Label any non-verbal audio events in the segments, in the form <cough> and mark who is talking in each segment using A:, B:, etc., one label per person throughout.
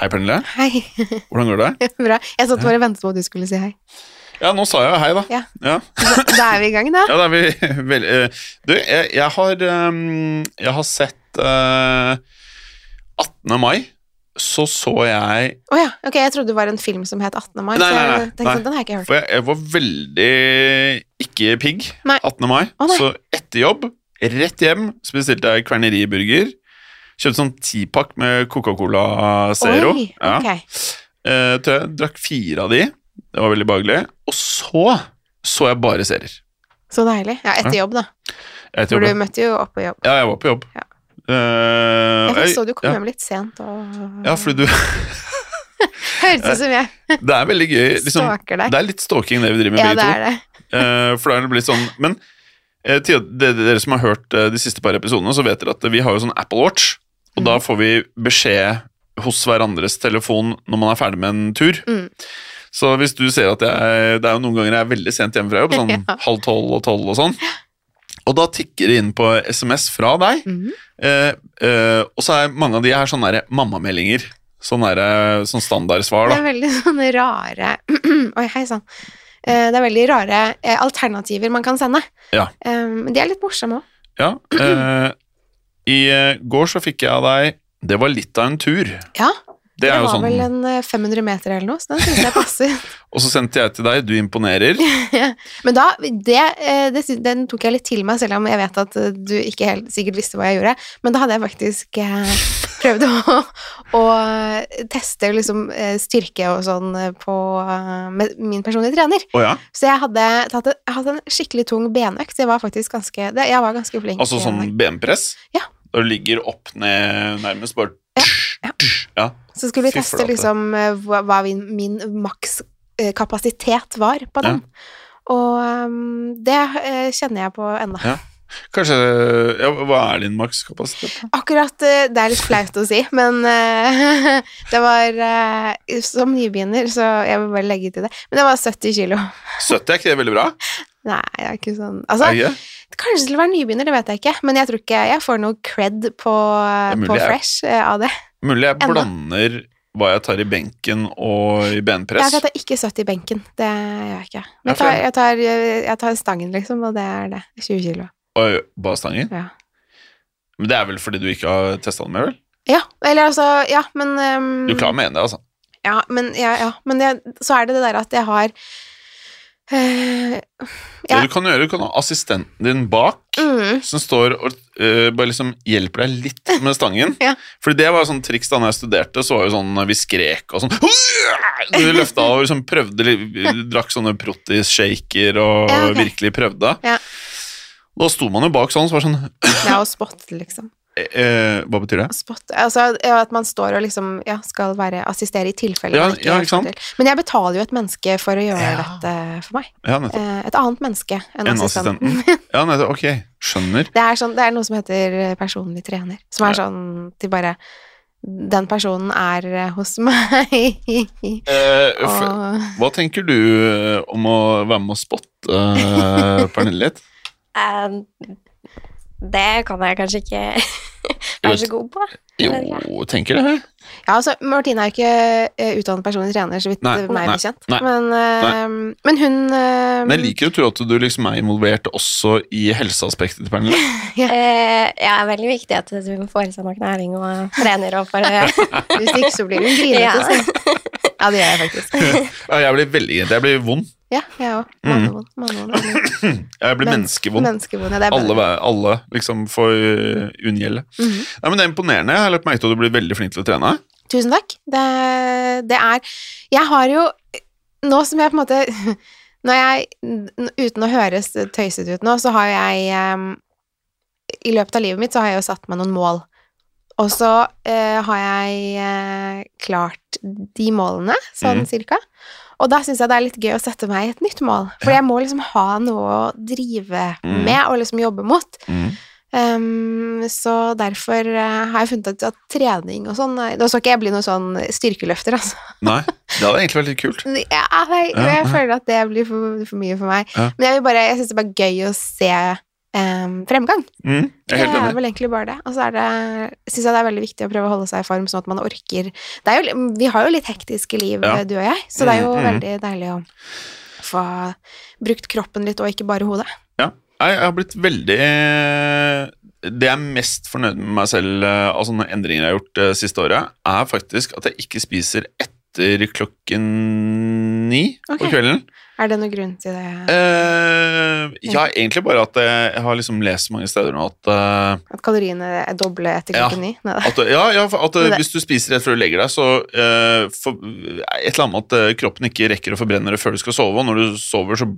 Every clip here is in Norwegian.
A: Hei, Pernille.
B: Hei. <laughs>
A: Hvordan går det?
B: Bra. Jeg satt bare og ventet på at du skulle si hei.
A: Ja, nå sa jeg jo hei, da.
B: Ja.
A: Ja,
B: Da er vi i gang, da.
A: ja da er vi <laughs> vel eh, Du, jeg, jeg har ehm, Jeg har sett eh, 18. mai, så så jeg
B: Å ja. Ok, jeg trodde det var en film som het 18.
A: Nei,
B: mai. så
A: nei,
B: jeg
A: nei,
B: tenkte
A: nei.
B: sånn, Den har jeg ikke hørt.
A: For jeg, jeg var veldig ikke pigg
B: Nei.
A: 18. mai.
B: Å, nei.
A: så etter jobb, rett hjem, så bestilte jeg kverneriburger. Kjøpte sånn tipakk med Coca-Cola Zero.
B: Oi,
A: Ja.
B: ok.
A: Eh, tror jeg drakk fire av de. Det var veldig behagelig. Og så så jeg bare serier.
B: Så deilig. Ja, etter jobb, da.
A: Etter
B: For
A: jobb.
B: du møtte jo opp på jobb.
A: Ja, jeg var på jobb.
B: Ja.
A: Eh,
B: Jeg så du kom
A: ja.
B: hjem litt sent og
A: Ja, fordi du <laughs>
B: Høres ut som jeg
A: Det er veldig gøy. Liksom,
B: stalker deg.
A: det er litt stalking, det vi driver med,
B: Ja,
A: begge
B: det
A: to.
B: er det.
A: Eh, for da er det blitt sånn Men eh, til de- dere som har hørt eh, de siste par episodene, så vet dere at vi har jo sånn Apple Watch, og
B: Mm.
A: da får vi beskjed hos hverandres telefon når man er ferdig med en tur.
B: Mm.
A: Så hvis du ser at jeg Det er jo noen ganger jeg er veldig sent hjemme fra jobb, sånn
B: <laughs> Ja.
A: halv tolv og tolv og sånn. Og da tikker det inn på SMS fra deg,
B: Mhm.
A: eh, eh, og så er mange av de her sånne derre mammameldinger. Sånn derre- sånn standardsvar,
B: Det
A: da.
B: er veldig sånne rare <clears throat> Oi, hei sann. Eh, Det er veldig rare eh, alternativer man kan sende.
A: Ja.
B: Eh, Men de er litt morsomme òg.
A: Ja. eh, I eh, går så fikk jeg av deg 'Det var litt av en tur'.
B: Ja,
A: Det
B: det
A: er jo
B: var
A: sånn.
B: vel en eh, 500 meter eller noe, så den syns jeg passer.
A: Og så sendte jeg til deg 'Du imponerer'.
B: Men da, det, eh, det, sy- den tok jeg litt til meg, selv om jeg vet at eh, du ikke helt sikkert visste hva jeg gjorde. Men da hadde jeg faktisk eh, prøvd å, <laughs> å teste liksom, eh, styrke og sånn eh, på, eh, med min personlige trener.
A: Å ja.
B: Så jeg hadde tatt en, jeg hadde en skikkelig tung benøkt. Jeg var faktisk ganske, det, jeg var ganske flink. eh,
A: Altså sånn benpress?
B: Ja.
A: Da du ligger opp ned nærmest bare
B: Ja,
A: ja. ja.
B: Så skulle vi
A: Fy
B: teste
A: flate.
B: liksom eh, hva, hva min, min maks eh, kapasitet var på den. Og ehm, det eh, kjenner jeg på ennå.
A: Ja. Kanskje ja, Hva er din makskapasitet? da?
B: Akkurat eh, Det er litt flaut å si, men eh, <laughs> det var eh, Som nybegynner, så jeg vil bare legge til det. Men det var 70 kilo.
A: 70 er ikke det veldig bra?
B: Nei, det er ikke sånn
A: Er
B: Altså,
A: det ikke? det?
B: kanskje til å være nybegynner, det vet jeg ikke. Men jeg tror ikke jeg får noe cred på,
A: Det er mulig,
B: på
A: jeg-
B: Fresh eh, av det.
A: Mulig jeg
B: Ennå.
A: blander hva jeg tar i benken og i benpress.
B: Jeg tar ikke 70 i benken. Det gjør jeg ikke.
A: Ja,
B: Men jeg
A: for-
B: tar, jeg, tar, eh, jeg tar stangen, liksom, og det er det. 20 kilo.
A: Og bare stangen.
B: Ja.
A: Men det er vel fordi du ikke har testa den mer, vel?
B: Ja, eller altså Ja, men ehm,
A: Du klarer med en det, altså.
B: Ja, men, ja, ja, men jeg, så er det det der at jeg har eh,
A: Det
B: Ja.
A: du kan gjøre, du kan ha assistenten din bak.
B: mm,
A: som står og eh, bare liksom hjelper deg litt
B: <laughs>
A: med stangen.
B: Ja.
A: Fordi det var sånn triks da når jeg studerte, så var jo sånn vi skrek og sånn <laughs> Du løfta og liksom prøvde litt- Drakk sånne protisshaker og
B: Ja, ok.
A: virkelig prøvde.
B: Ja.
A: Da sto man jo bak sånn, så var det sånn
B: Det er å spotte, liksom.
A: eh, eh, Hva betyr det?
B: Å spotte Altså ja, at man står og liksom ja, skal være assistere i tilfelle
A: Ja,
B: man ikke
A: ja,
B: får
A: ikke sant?
B: til. Men jeg betaler jo et menneske for å gjøre
A: Ja.
B: dette for meg.
A: Ja, nettopp.
B: Eh, et annet menneske enn
A: En
B: assistenten.
A: assistenten. Ja, nettopp. Ok, skjønner.
B: Det er, sånn, det er noe som heter eh, personlig trener, som er
A: Ja.
B: sånn til bare Den personen er eh, hos <laughs> meg.
A: Eh, f-
B: Og
A: hva tenker du eh, om å være med og spotte eh, Pernille litt?
C: Eh, det kan jeg kanskje ikke <laughs> være så god på.
A: Jo, tenker det.
B: Ja, altså, Martine er jo ikke eh, utdannet personlig trener, så vidt
A: Nei.
B: eh, meg
A: Nei.
B: bekjent.
A: Nei.
B: Men, eh, men hun eh,
A: Men jeg liker å tro at du liksom er involvert også i helseaspektet til Pernille.
C: Eh, ja, det er veldig viktig at hun får i seg nok næring og trener og
A: <laughs>
C: bare
B: Hvis ikke, så blir hun grinete.
C: Ja.
B: Ja. ja, det gjør jeg faktisk.
A: Ja, jeg blir veldig greit. Jeg blir vond.
B: Ja, jeg òg. Mannevond. mannevond, mannevond.
A: Jeg blir menneskevond.
B: Menneskevond, ja, det er
A: Alle,
B: bedre.
A: vei- alle liksom får øh, unngjelde.
B: Mhm.
A: Nei, men Det er imponerende. Jeg har lagt merke til at du blir veldig flink til å trene.
B: Tusen takk. Det, det er Jeg har jo Nå som jeg på en måte <laughs> Når jeg n- Uten å høres tøysete ut nå, så har jeg em, I løpet av livet mitt så har jeg jo satt meg noen mål. Og så eh, har jeg eh, klart de målene, sånn
A: Mhm.
B: cirka. Og da syns jeg det er litt gøy å sette meg et nytt mål. For jeg må liksom ha noe å drive
A: Mhm.
B: med og liksom jobbe mot.
A: Mhm.
B: Ehm, så derfor eh, har jeg funnet ut at trening og sånn eh, Nå skal ikke jeg bli noen sånn styrkeløfter, altså. <laughs>
A: Nei, det hadde egentlig vært litt kult.
B: Ja, jeg, jeg
A: Ja, ja.
B: føler at det blir for, for mye for meg.
A: Ja.
B: Men jeg, vil bare, jeg syns det er bare gøy å se em, fremgang.
A: Mm, jeg er
B: Det
A: helt
B: er
A: enig.
B: vel egentlig bare det. Og så er det, syns jeg det er veldig viktig å prøve å holde seg i form, sånn at man orker det er jo, Vi har jo litt hektiske liv,
A: Ja.
B: du og jeg, så det er jo
A: Mm, mm.
B: veldig deilig å få brukt kroppen litt, og ikke bare hodet.
A: Nei, jeg har blitt veldig eh, Det jeg er mest fornøyd med meg selv eh, av sånne endringer jeg har gjort det siste året, er faktisk at jeg ikke spiser etter klokken ni
B: Ok.
A: på kvelden.
B: Er det noen grunn til det?
A: Eh, ja, egentlig bare at jeg, jeg har liksom lest mange steder nå at, eh,
B: At kaloriene er doble etter
A: Ja.
B: klokken ni? Nei da.
A: at Ja, ja for at eh,
B: Men det-
A: hvis du spiser rett før du legger deg, så eh, for, Et eller annet med at eh, kroppen ikke rekker å forbrenne det før du skal sove, og når du sover, så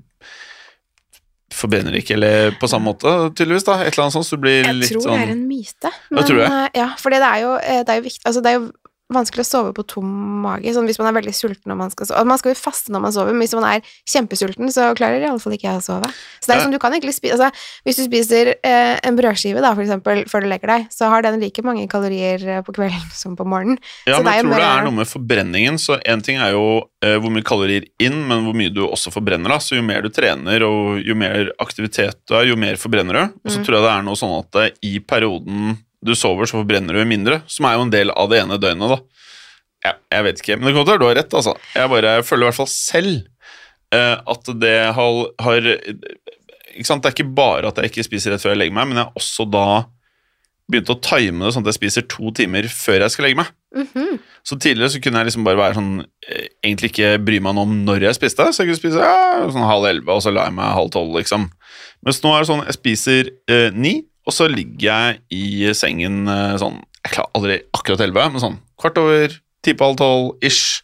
A: forbrenner det ikke eller på samme måte, tydeligvis. da, Et eller annet sånt, så du blir
B: Jeg
A: litt
B: tror
A: sånn
B: det er en myte.
A: tror jeg.
B: eh, Ja, for det er jo, eh, det er jo viktig Altså, det er jo vanskelig å sove på tom mage, sånn hvis man er veldig sulten når man skal sove. Og Man skal jo faste når man sover, men hvis man er kjempesulten, så klarer i alle fall ikke jeg å sove. Så det er jo
A: Ja.
B: sånn, du kan egentlig spise Altså, hvis du spiser eh, en brødskive, da, for eksempel, før du legger deg, så har den like mange kalorier eh, på kvelden <laughs> som på morgenen.
A: Ja,
B: Så
A: men
B: det er
A: jeg
B: jo
A: tror det
B: bare-
A: er noe med forbrenningen. Så en ting er jo eh, hvor mye kalorier inn, men hvor mye du også forbrenner. da. Så jo mer du trener, og jo mer aktivitet du har, jo mer forbrenner du. Og så
B: Mm.
A: tror jeg det er noe sånn at eh, i perioden du sover, så forbrenner du mindre. Som er jo en del av det ene døgnet, da. Ja, jeg vet ikke, men det kommer til å være du har rett, altså. Jeg bare føler i hvert fall selv eh, at det har, har Ikke sant, det er ikke bare at jeg ikke spiser rett før jeg legger meg, men jeg har også da begynt å time det sånn at jeg spiser to timer før jeg skal legge meg.
B: Mhm.
A: Så tidligere så kunne jeg liksom bare være sånn eh, Egentlig ikke bry meg noe om når jeg spiste. Så jeg kunne spise ja, sånn halv elleve, og så la jeg meg halv tolv, liksom. Mens nå er det sånn jeg spiser eh, ni, og så ligger jeg i sengen eh, sånn Jeg klarer aldri akkurat elleve, men sånn kvart over, ti på halv tolv ish.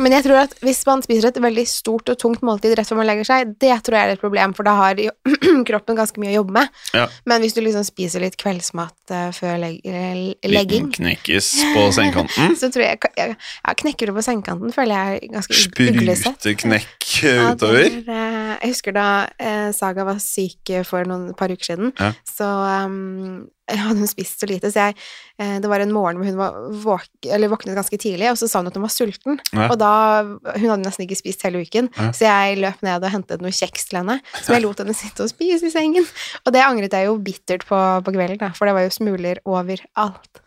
B: Men jeg tror at hvis man spiser et veldig stort og tungt måltid rett før man legger seg, det tror jeg er et problem, for da har jo <clears throat> kroppen ganske mye å jobbe med. <laughs>
A: Ja.
B: Men hvis du liksom spiser litt kveldsmat eh, før leg eh,
A: Liten
B: legging,
A: knekkes på
B: <laughs>
A: sengekanten.
B: så tror jeg, jeg ja, Knekker du på sengekanten, føler jeg er ganske ug- uglesett.
A: Spruteknekk eh,
B: Ja, det
A: utover.
B: er, eh, jeg husker da eh, Saga var syk eh, for noen et par uker siden,
A: Ja.
B: så um, hadde hun spist så lite, så jeg eh, Det var en morgen hvor hun var våk, eller våknet ganske tidlig, og så sa hun at hun var sulten.
A: Ja.
B: Og da Hun hadde nesten ikke spist hele uken,
A: Ja.
B: så jeg løp ned og hentet noe kjeks til henne, som jeg lot henne sitte og spise i sengen. Og det angret jeg jo bittert på på kvelden, da, for det var jo smuler
A: <laughs>
B: overalt.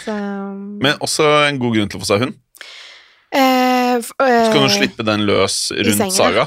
B: Så
A: Men også en god grunn til å få seg hund.
B: eh, f-
A: Så kan
B: eh,
A: du slippe den løs
B: sengen, ja.
A: rundt saga.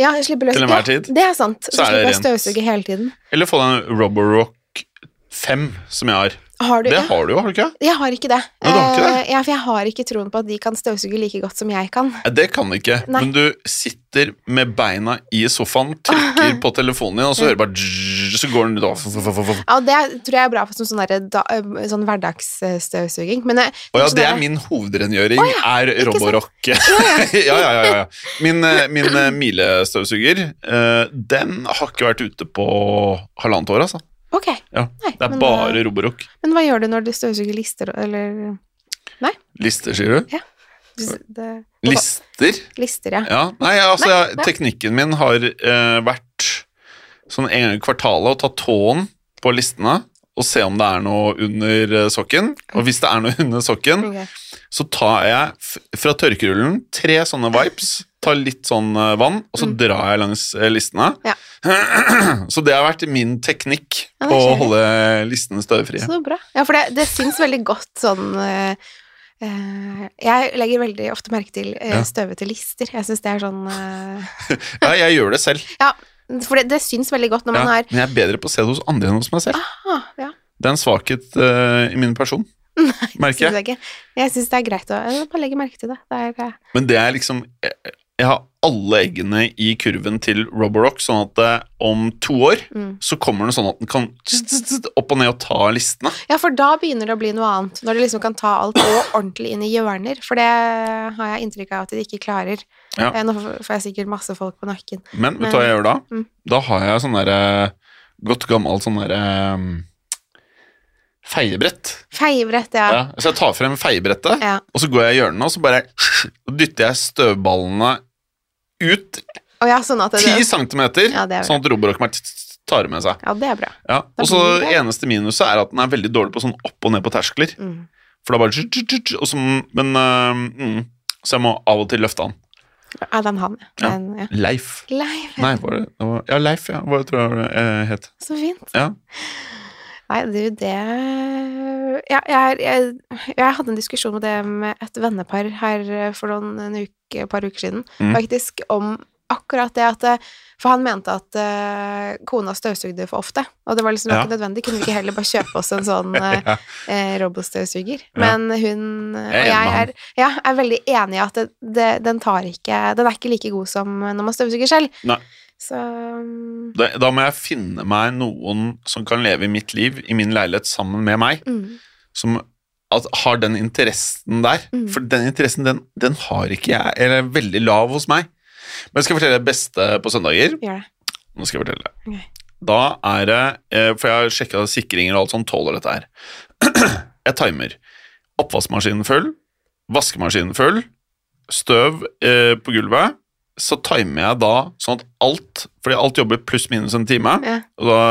B: Ja, jeg slipper løs.
A: Til enhver
B: Ja,
A: tid.
B: Det er sant. Så,
A: Så er det
B: slipper jeg å
A: rent.
B: støvsuge hele tiden.
A: Eller få den Roborock 5 som jeg har.
B: Har du
A: Det
B: ja.
A: har du jo, har du ikke?
B: Jeg har ikke det.
A: Nei, du har ikke det?
B: Eh, Ja, for jeg har ikke troen på at de kan støvsuge like godt som jeg kan.
A: Nei, Det kan du ikke.
B: Nei.
A: Men du sitter med beina i sofaen, trykker på telefonen din, og så hører du bare dzz, Så går den ut av
B: Ja, og det tror jeg er bra for sånn, sånn, derre da, eh, sånn hverdagsstøvsuging. Men eh,
A: Å ja,
B: sånn
A: det er
B: derre-
A: min hovedrengjøring, er
B: ikke sant?
A: Roborock. ja, <laughs> ja, ja, ja. Min, eh, min eh, milestøvsuger, eh, den har ikke vært ute på halvannet år, altså.
B: Ok.
A: Ja,
B: Nei,
A: Det er
B: men, eh,
A: bare Roborock.
B: Men hva gjør du når du støvsuger lister, eller
A: Lister, sier du?
B: det,
A: Lister?
B: Lister, ja.
A: Ja, nei, jeg- altså
C: Nei,
A: jeg,
C: nei.
A: teknikken min har eh, vært sånn en gang i kvartalet å ta tåen på listene og se om det er noe under eh, sokken. Og hvis det er noe <laughs> under sokken,
B: Ok.
A: så tar jeg f- fra tørkerullen tre sånne vipes, tar litt sånn eh, vann, og så
B: Mm.
A: drar jeg langs eh, listene.
B: Ja.
A: <clears throat> Så det har vært min teknikk
B: Ja,
A: på
B: det
A: å
B: skjer.
A: holde listene støvfrie.
B: Så bra. Ja, for det, det syns veldig godt sånn eh, eh, Jeg legger veldig ofte merke til eh,
A: Ja.
B: støvete lister. Jeg syns det er sånn eh,
A: Ja, jeg gjør det selv.
B: For det, det syns veldig godt når
A: Ja,
B: man har
A: men jeg er bedre på å se det hos andre enn hos meg selv.
B: ah, ja,
A: Det er en svakhet eh, i min
B: <laughs>
A: person, merker jeg.
B: synes jeg ikke. Jeg syns det er greit å jeg bare legge merke til det. det er, eh,
A: Men det er liksom Jeg jeg har alle eggene i kurven til Roborock, sånn at eh, om to år
B: mm.
A: så kommer den sånn at den kan tss, tss, tss, opp og ned og ta listene.
B: Ja, for da begynner det å bli noe annet. Når de liksom kan ta alt og ordentlig inn i hjørner. For det har jeg inntrykk av at de ikke klarer.
A: Ja.
B: Eh, Nå får får jeg sikkert masse folk på nakken.
A: Men vet du hva jeg gjør da?
B: Mm.
A: Da har jeg sånn derre godt gammel sånn derre feiebrett.
B: Feiebrett,
A: Ja.
B: ja.
A: Så jeg tar frem feiebrettet,
B: ja.
A: og så går jeg i hjørnet, og så bare <laughs> og dytter jeg støvballene ut
B: Og ja, sånn at
A: ti
B: det,
A: centimeter,
B: Ja, det er bra.
A: sånn at Roborock meg tar det med seg.
B: Ja, det er bra.
A: Ja.
B: Da
A: Og så
B: blir det-
A: eneste minuset er at den er veldig dårlig på sånn opp og ned på terskler.
B: Mm.
A: eh, For da bare og så, Men øh, mm, Så jeg må av og til løfte den.
B: Ja, den han, ja.
A: Ja.
B: Den, ja.
A: Leif.
B: Leif,
A: Nei, var det, det var, Ja, Leif, ja. Hva tror jeg det eh, het?
B: så fint.
A: Ja.
B: Nei, du, det ja, jeg, jeg, jeg hadde en diskusjon med det med et vennepar her eh, for noen en uke, par uker siden,
A: Mm.
B: faktisk, om akkurat det at eh, For han mente at eh, kona støvsugde for ofte, og det var liksom det var
A: Ja.
B: ikke nødvendig. Kunne vi ikke heller bare kjøpe oss en
A: <laughs>
B: sånn eh,
A: ja.
B: eh, robotstøvsuger?
A: Ja.
B: Men hun eh,
A: Jeg er enig
B: og jeg
A: med
B: er, ja, er veldig enig i at det, det, den tar ikke Den er ikke like god som når man støvsuger selv.
A: Nei.
B: Så mm,
A: Da, da må jeg finne meg noen som kan leve i mitt liv, i min leilighet, sammen med meg. Som at, har den interessen der.
B: Mm.
A: For den interessen, den, den har ikke jeg. Eller er veldig lav hos meg. Men jeg skal fortelle det beste på søndager.
B: gjør det.
A: Nå skal jeg fortelle det.
B: Ok.
A: Da er det eh, For jeg har sjekka sikringer og alt sånt tåler dette her. <clears throat> jeg timer. Oppvaskmaskinen full. Vaskemaskinen full. Støv eh, på gulvet. Så timer jeg da sånn at alt Fordi alt jobber pluss minus en time.
B: Ja.
A: Og da,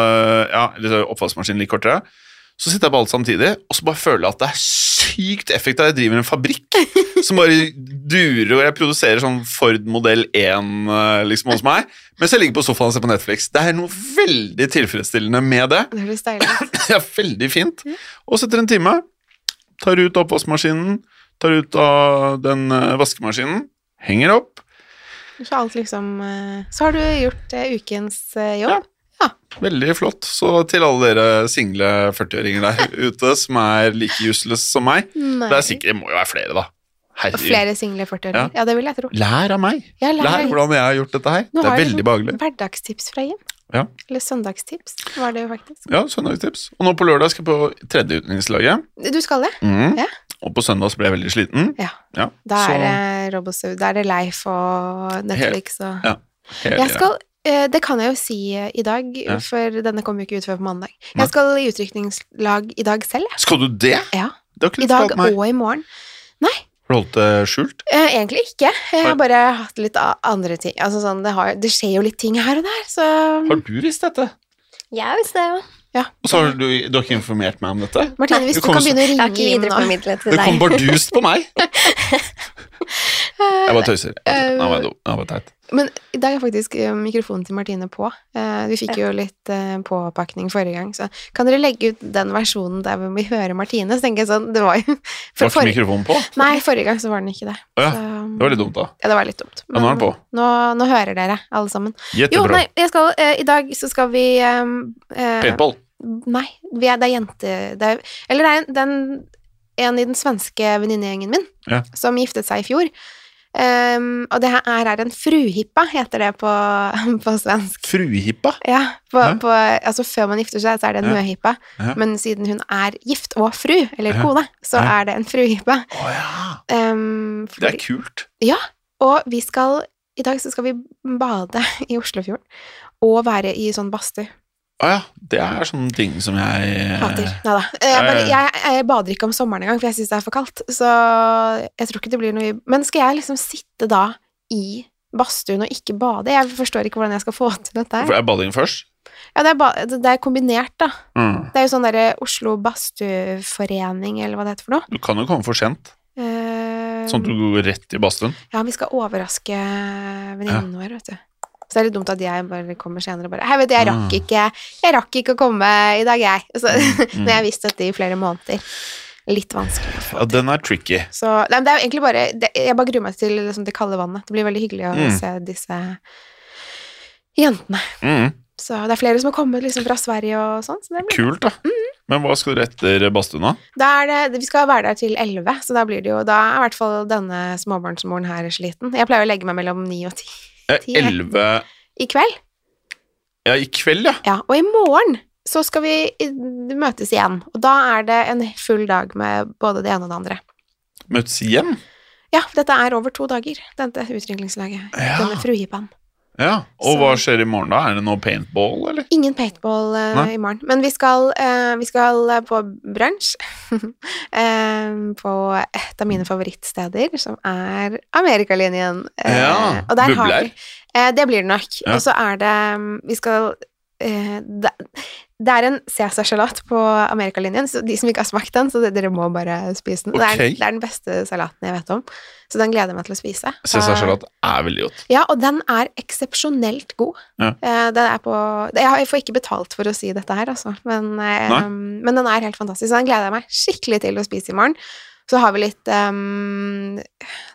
A: ja, eller oppvaskmaskinen litt kortere. Så sitter jeg på alt samtidig, og så bare føler jeg at det er sykt effektivt. Jeg driver en fabrikk som bare durer, og jeg produserer sånn Ford modell 1 eh, liksom hos meg, mens jeg ligger på sofaen og ser på Netflix. Det er noe veldig tilfredsstillende med det. <laughs>
B: Det høres deilig ut.
A: Det er veldig fint. Og setter en time, tar ut oppvaskmaskinen, tar ut av den eh, vaskemaskinen, henger opp.
B: Så alt liksom eh, Så har du gjort eh, ukens eh, jobb.
A: Veldig flott. Så til alle dere single 40-åringer der ute som er like useless som meg
B: Nei.
A: Det er sikkert, det må jo være flere, da.
B: Og
A: Herregud.
B: flere single 40-åringer. Ja. det vil jeg tro.
A: Lær av meg.
B: Jeg
A: Lær hvordan jeg har gjort dette her.
B: Nå
A: Det
B: har
A: er
B: jeg
A: veldig
B: liksom
A: behagelig.
B: Hverdagstips fra Jim.
A: Ja.
B: Eller søndagstips, var det jo faktisk.
A: Ja, søndagstips. Og nå på lørdag skal jeg på tredje utenrikslaget.
B: Du skal det?
A: Mm.
B: Ja.
A: Og på søndag så ble jeg veldig sliten.
B: Ja.
A: Ja,
B: Da
A: så
B: er det Robostøv, da er det Leif og Netflix og
A: hele-
B: Jeg skal eh, det kan jeg jo si eh, i dag,
A: Ja.
B: for denne kommer jo ikke ut før på mandag.
A: Nei.
B: Jeg skal i utrykningslag i dag selv, jeg.
A: Skal du det?
B: Ja.
A: Det har ikke
B: I
A: du
B: dag
A: fortalt meg.
B: og i morgen.
A: Har du holdt det skjult?
B: Eh, egentlig ikke. Jeg
A: Nei.
B: har bare hatt litt a- andre ting. Altså sånn, det, har, det skjer jo litt ting her og der, så
A: Har du visst dette?
C: Jeg visste det jo.
A: Og så har du, du har ikke informert meg om dette?
B: Martine, hvis
A: det
B: du
A: kommer
B: kan
A: så-
B: begynne å
C: Jeg har
B: ringe
C: ikke
B: inn nå.
C: videreformidlet til
A: Det kom
C: deg.
A: bardust på
B: <laughs>
A: meg! Jeg bare tøyser.
B: Eh,
A: Jeg bare tøyser. Nå var jeg dum. Nå var jeg teit.
B: Men i dag er faktisk eh, mikrofonen til Martine på. Eh, Vi fikk jo litt eh, påpakning forrige gang, så kan dere legge ut den versjonen der hvor vi hører Martine? Så tenker jeg sånn, det var jo for,
A: Var ikke
B: forrige-
A: mikrofonen på? Å
B: Nei, forrige gang så var den ikke det.
A: ja.
B: Så,
A: Det var litt dumt, da.
B: Ja, det var litt dumt.
A: Ja, nå er den på.
B: nå, nå hører dere, alle sammen. Jo,
A: Jettebra.
B: nei, jeg skal, eh, i dag så skal vi eh, eh,
A: Paintball.
B: Nei, vi er, det er jente... Det er, eller det er en, den, en i den svenske venninnegjengen min
A: Ja.
B: som giftet seg i fjor. Ehm, og det her er, er en fruhippa, heter det på, <laughs> på svensk.
A: Fruehippa.
B: Ja, på,
A: Ja.
B: på, altså før man gifter seg, så er det en
A: Ja.
B: møhippa.
A: Ja.
B: Men siden hun er gift og fru, eller
A: Ja.
B: kone, så
A: Ja.
B: er det en fruhippa.
A: Å ja.
B: Ehm,
A: Det er
B: fordi-
A: kult.
B: og vi skal I dag så skal vi bade i Oslofjorden. Og være i sånn badstue.
A: Å ja. Det er sånne ting som jeg eh,
B: Hater. Nei da. Jeg, bare, jeg, jeg bader ikke om sommeren engang, for jeg syns det er for kaldt. Så jeg tror ikke det blir noe Men skal jeg liksom sitte da i badstuen og ikke bade? Jeg forstår ikke hvordan jeg skal få til dette
A: For
B: her.
A: er bading først?
B: Ja, det er, ba det er kombinert, da.
A: Mm.
B: Det er jo sånn derre Oslo Badstueforening, eller hva det heter for noe.
A: Du kan jo komme for sent,
B: Eh,
A: sånn at du går rett i
B: <laughs>
A: badstuen.
B: Ja, vi skal overraske venninnen vår, vet du. Så det er litt dumt at jeg bare kommer senere og bare Hei, vet du, jeg rakk
A: Mm.
B: ikke, jeg rakk ikke å komme i dag, jeg. <laughs> Så,
A: Mm.
B: Når jeg har visst dette i flere måneder. Litt vanskelig å få
A: Ja, den er tricky.
B: Så nei, men det er jo egentlig bare det, Jeg bare gruer meg til liksom, det kalde vannet. Det blir veldig hyggelig å
A: Mm.
B: se disse jentene.
A: Mm.
B: Så det er flere som har kommet liksom, fra Sverige og sånn. Så det blir.
A: Kult, da.
B: Mm.
A: Men hva skal dere etter badstuen, da?
B: Da er det, vi skal være der til elleve, så da blir det jo Da er i hvert fall denne småbarnsmoren her sliten. Jeg pleier å legge meg mellom ni og ti
A: Eh,
B: Ti.
A: Elleve
B: i kveld.
A: Ja, i kveld, ja.
B: Ja, og i morgen så skal vi i- møtes igjen. Og da er det en full dag med både det ene og det andre.
A: Møtes igjen.
B: Ja, for dette er over to dager, dette utviklingslaget.
A: Ja.
B: Denne fruhippaen.
A: Ja, Og
B: Så-
A: hva skjer i morgen, da? Er det noe paintball, eller?
B: Ingen paintball eh,
A: Nei.
B: i morgen, men vi skal, eh, vi skal eh, på brunsj <laughs> eh, på et av mine favorittsteder, som er Amerikalinjen. Eh,
A: Ja,
B: og der har
A: bubler.
B: vi- eh, det blir det nok.
A: Ja.
B: Og så er det mm, Vi skal eh, det, det er en Cæsarsalat på Amerikalinjen, så de som ikke har smakt den, så dere må bare spise den. Det,
A: Ok.
B: er, det er den beste salaten jeg vet om, så den gleder jeg meg til å spise.
A: Cæsarsalat er veldig godt.
B: Ja, og den er eksepsjonelt god.
A: Ja.
B: Eh, Den er på Jeg har- jeg får ikke betalt for å si dette her, altså, men, eh,
A: Nei.
B: men den er helt fantastisk. Så den gleder jeg meg skikkelig til å spise i morgen. Så har vi litt ehm,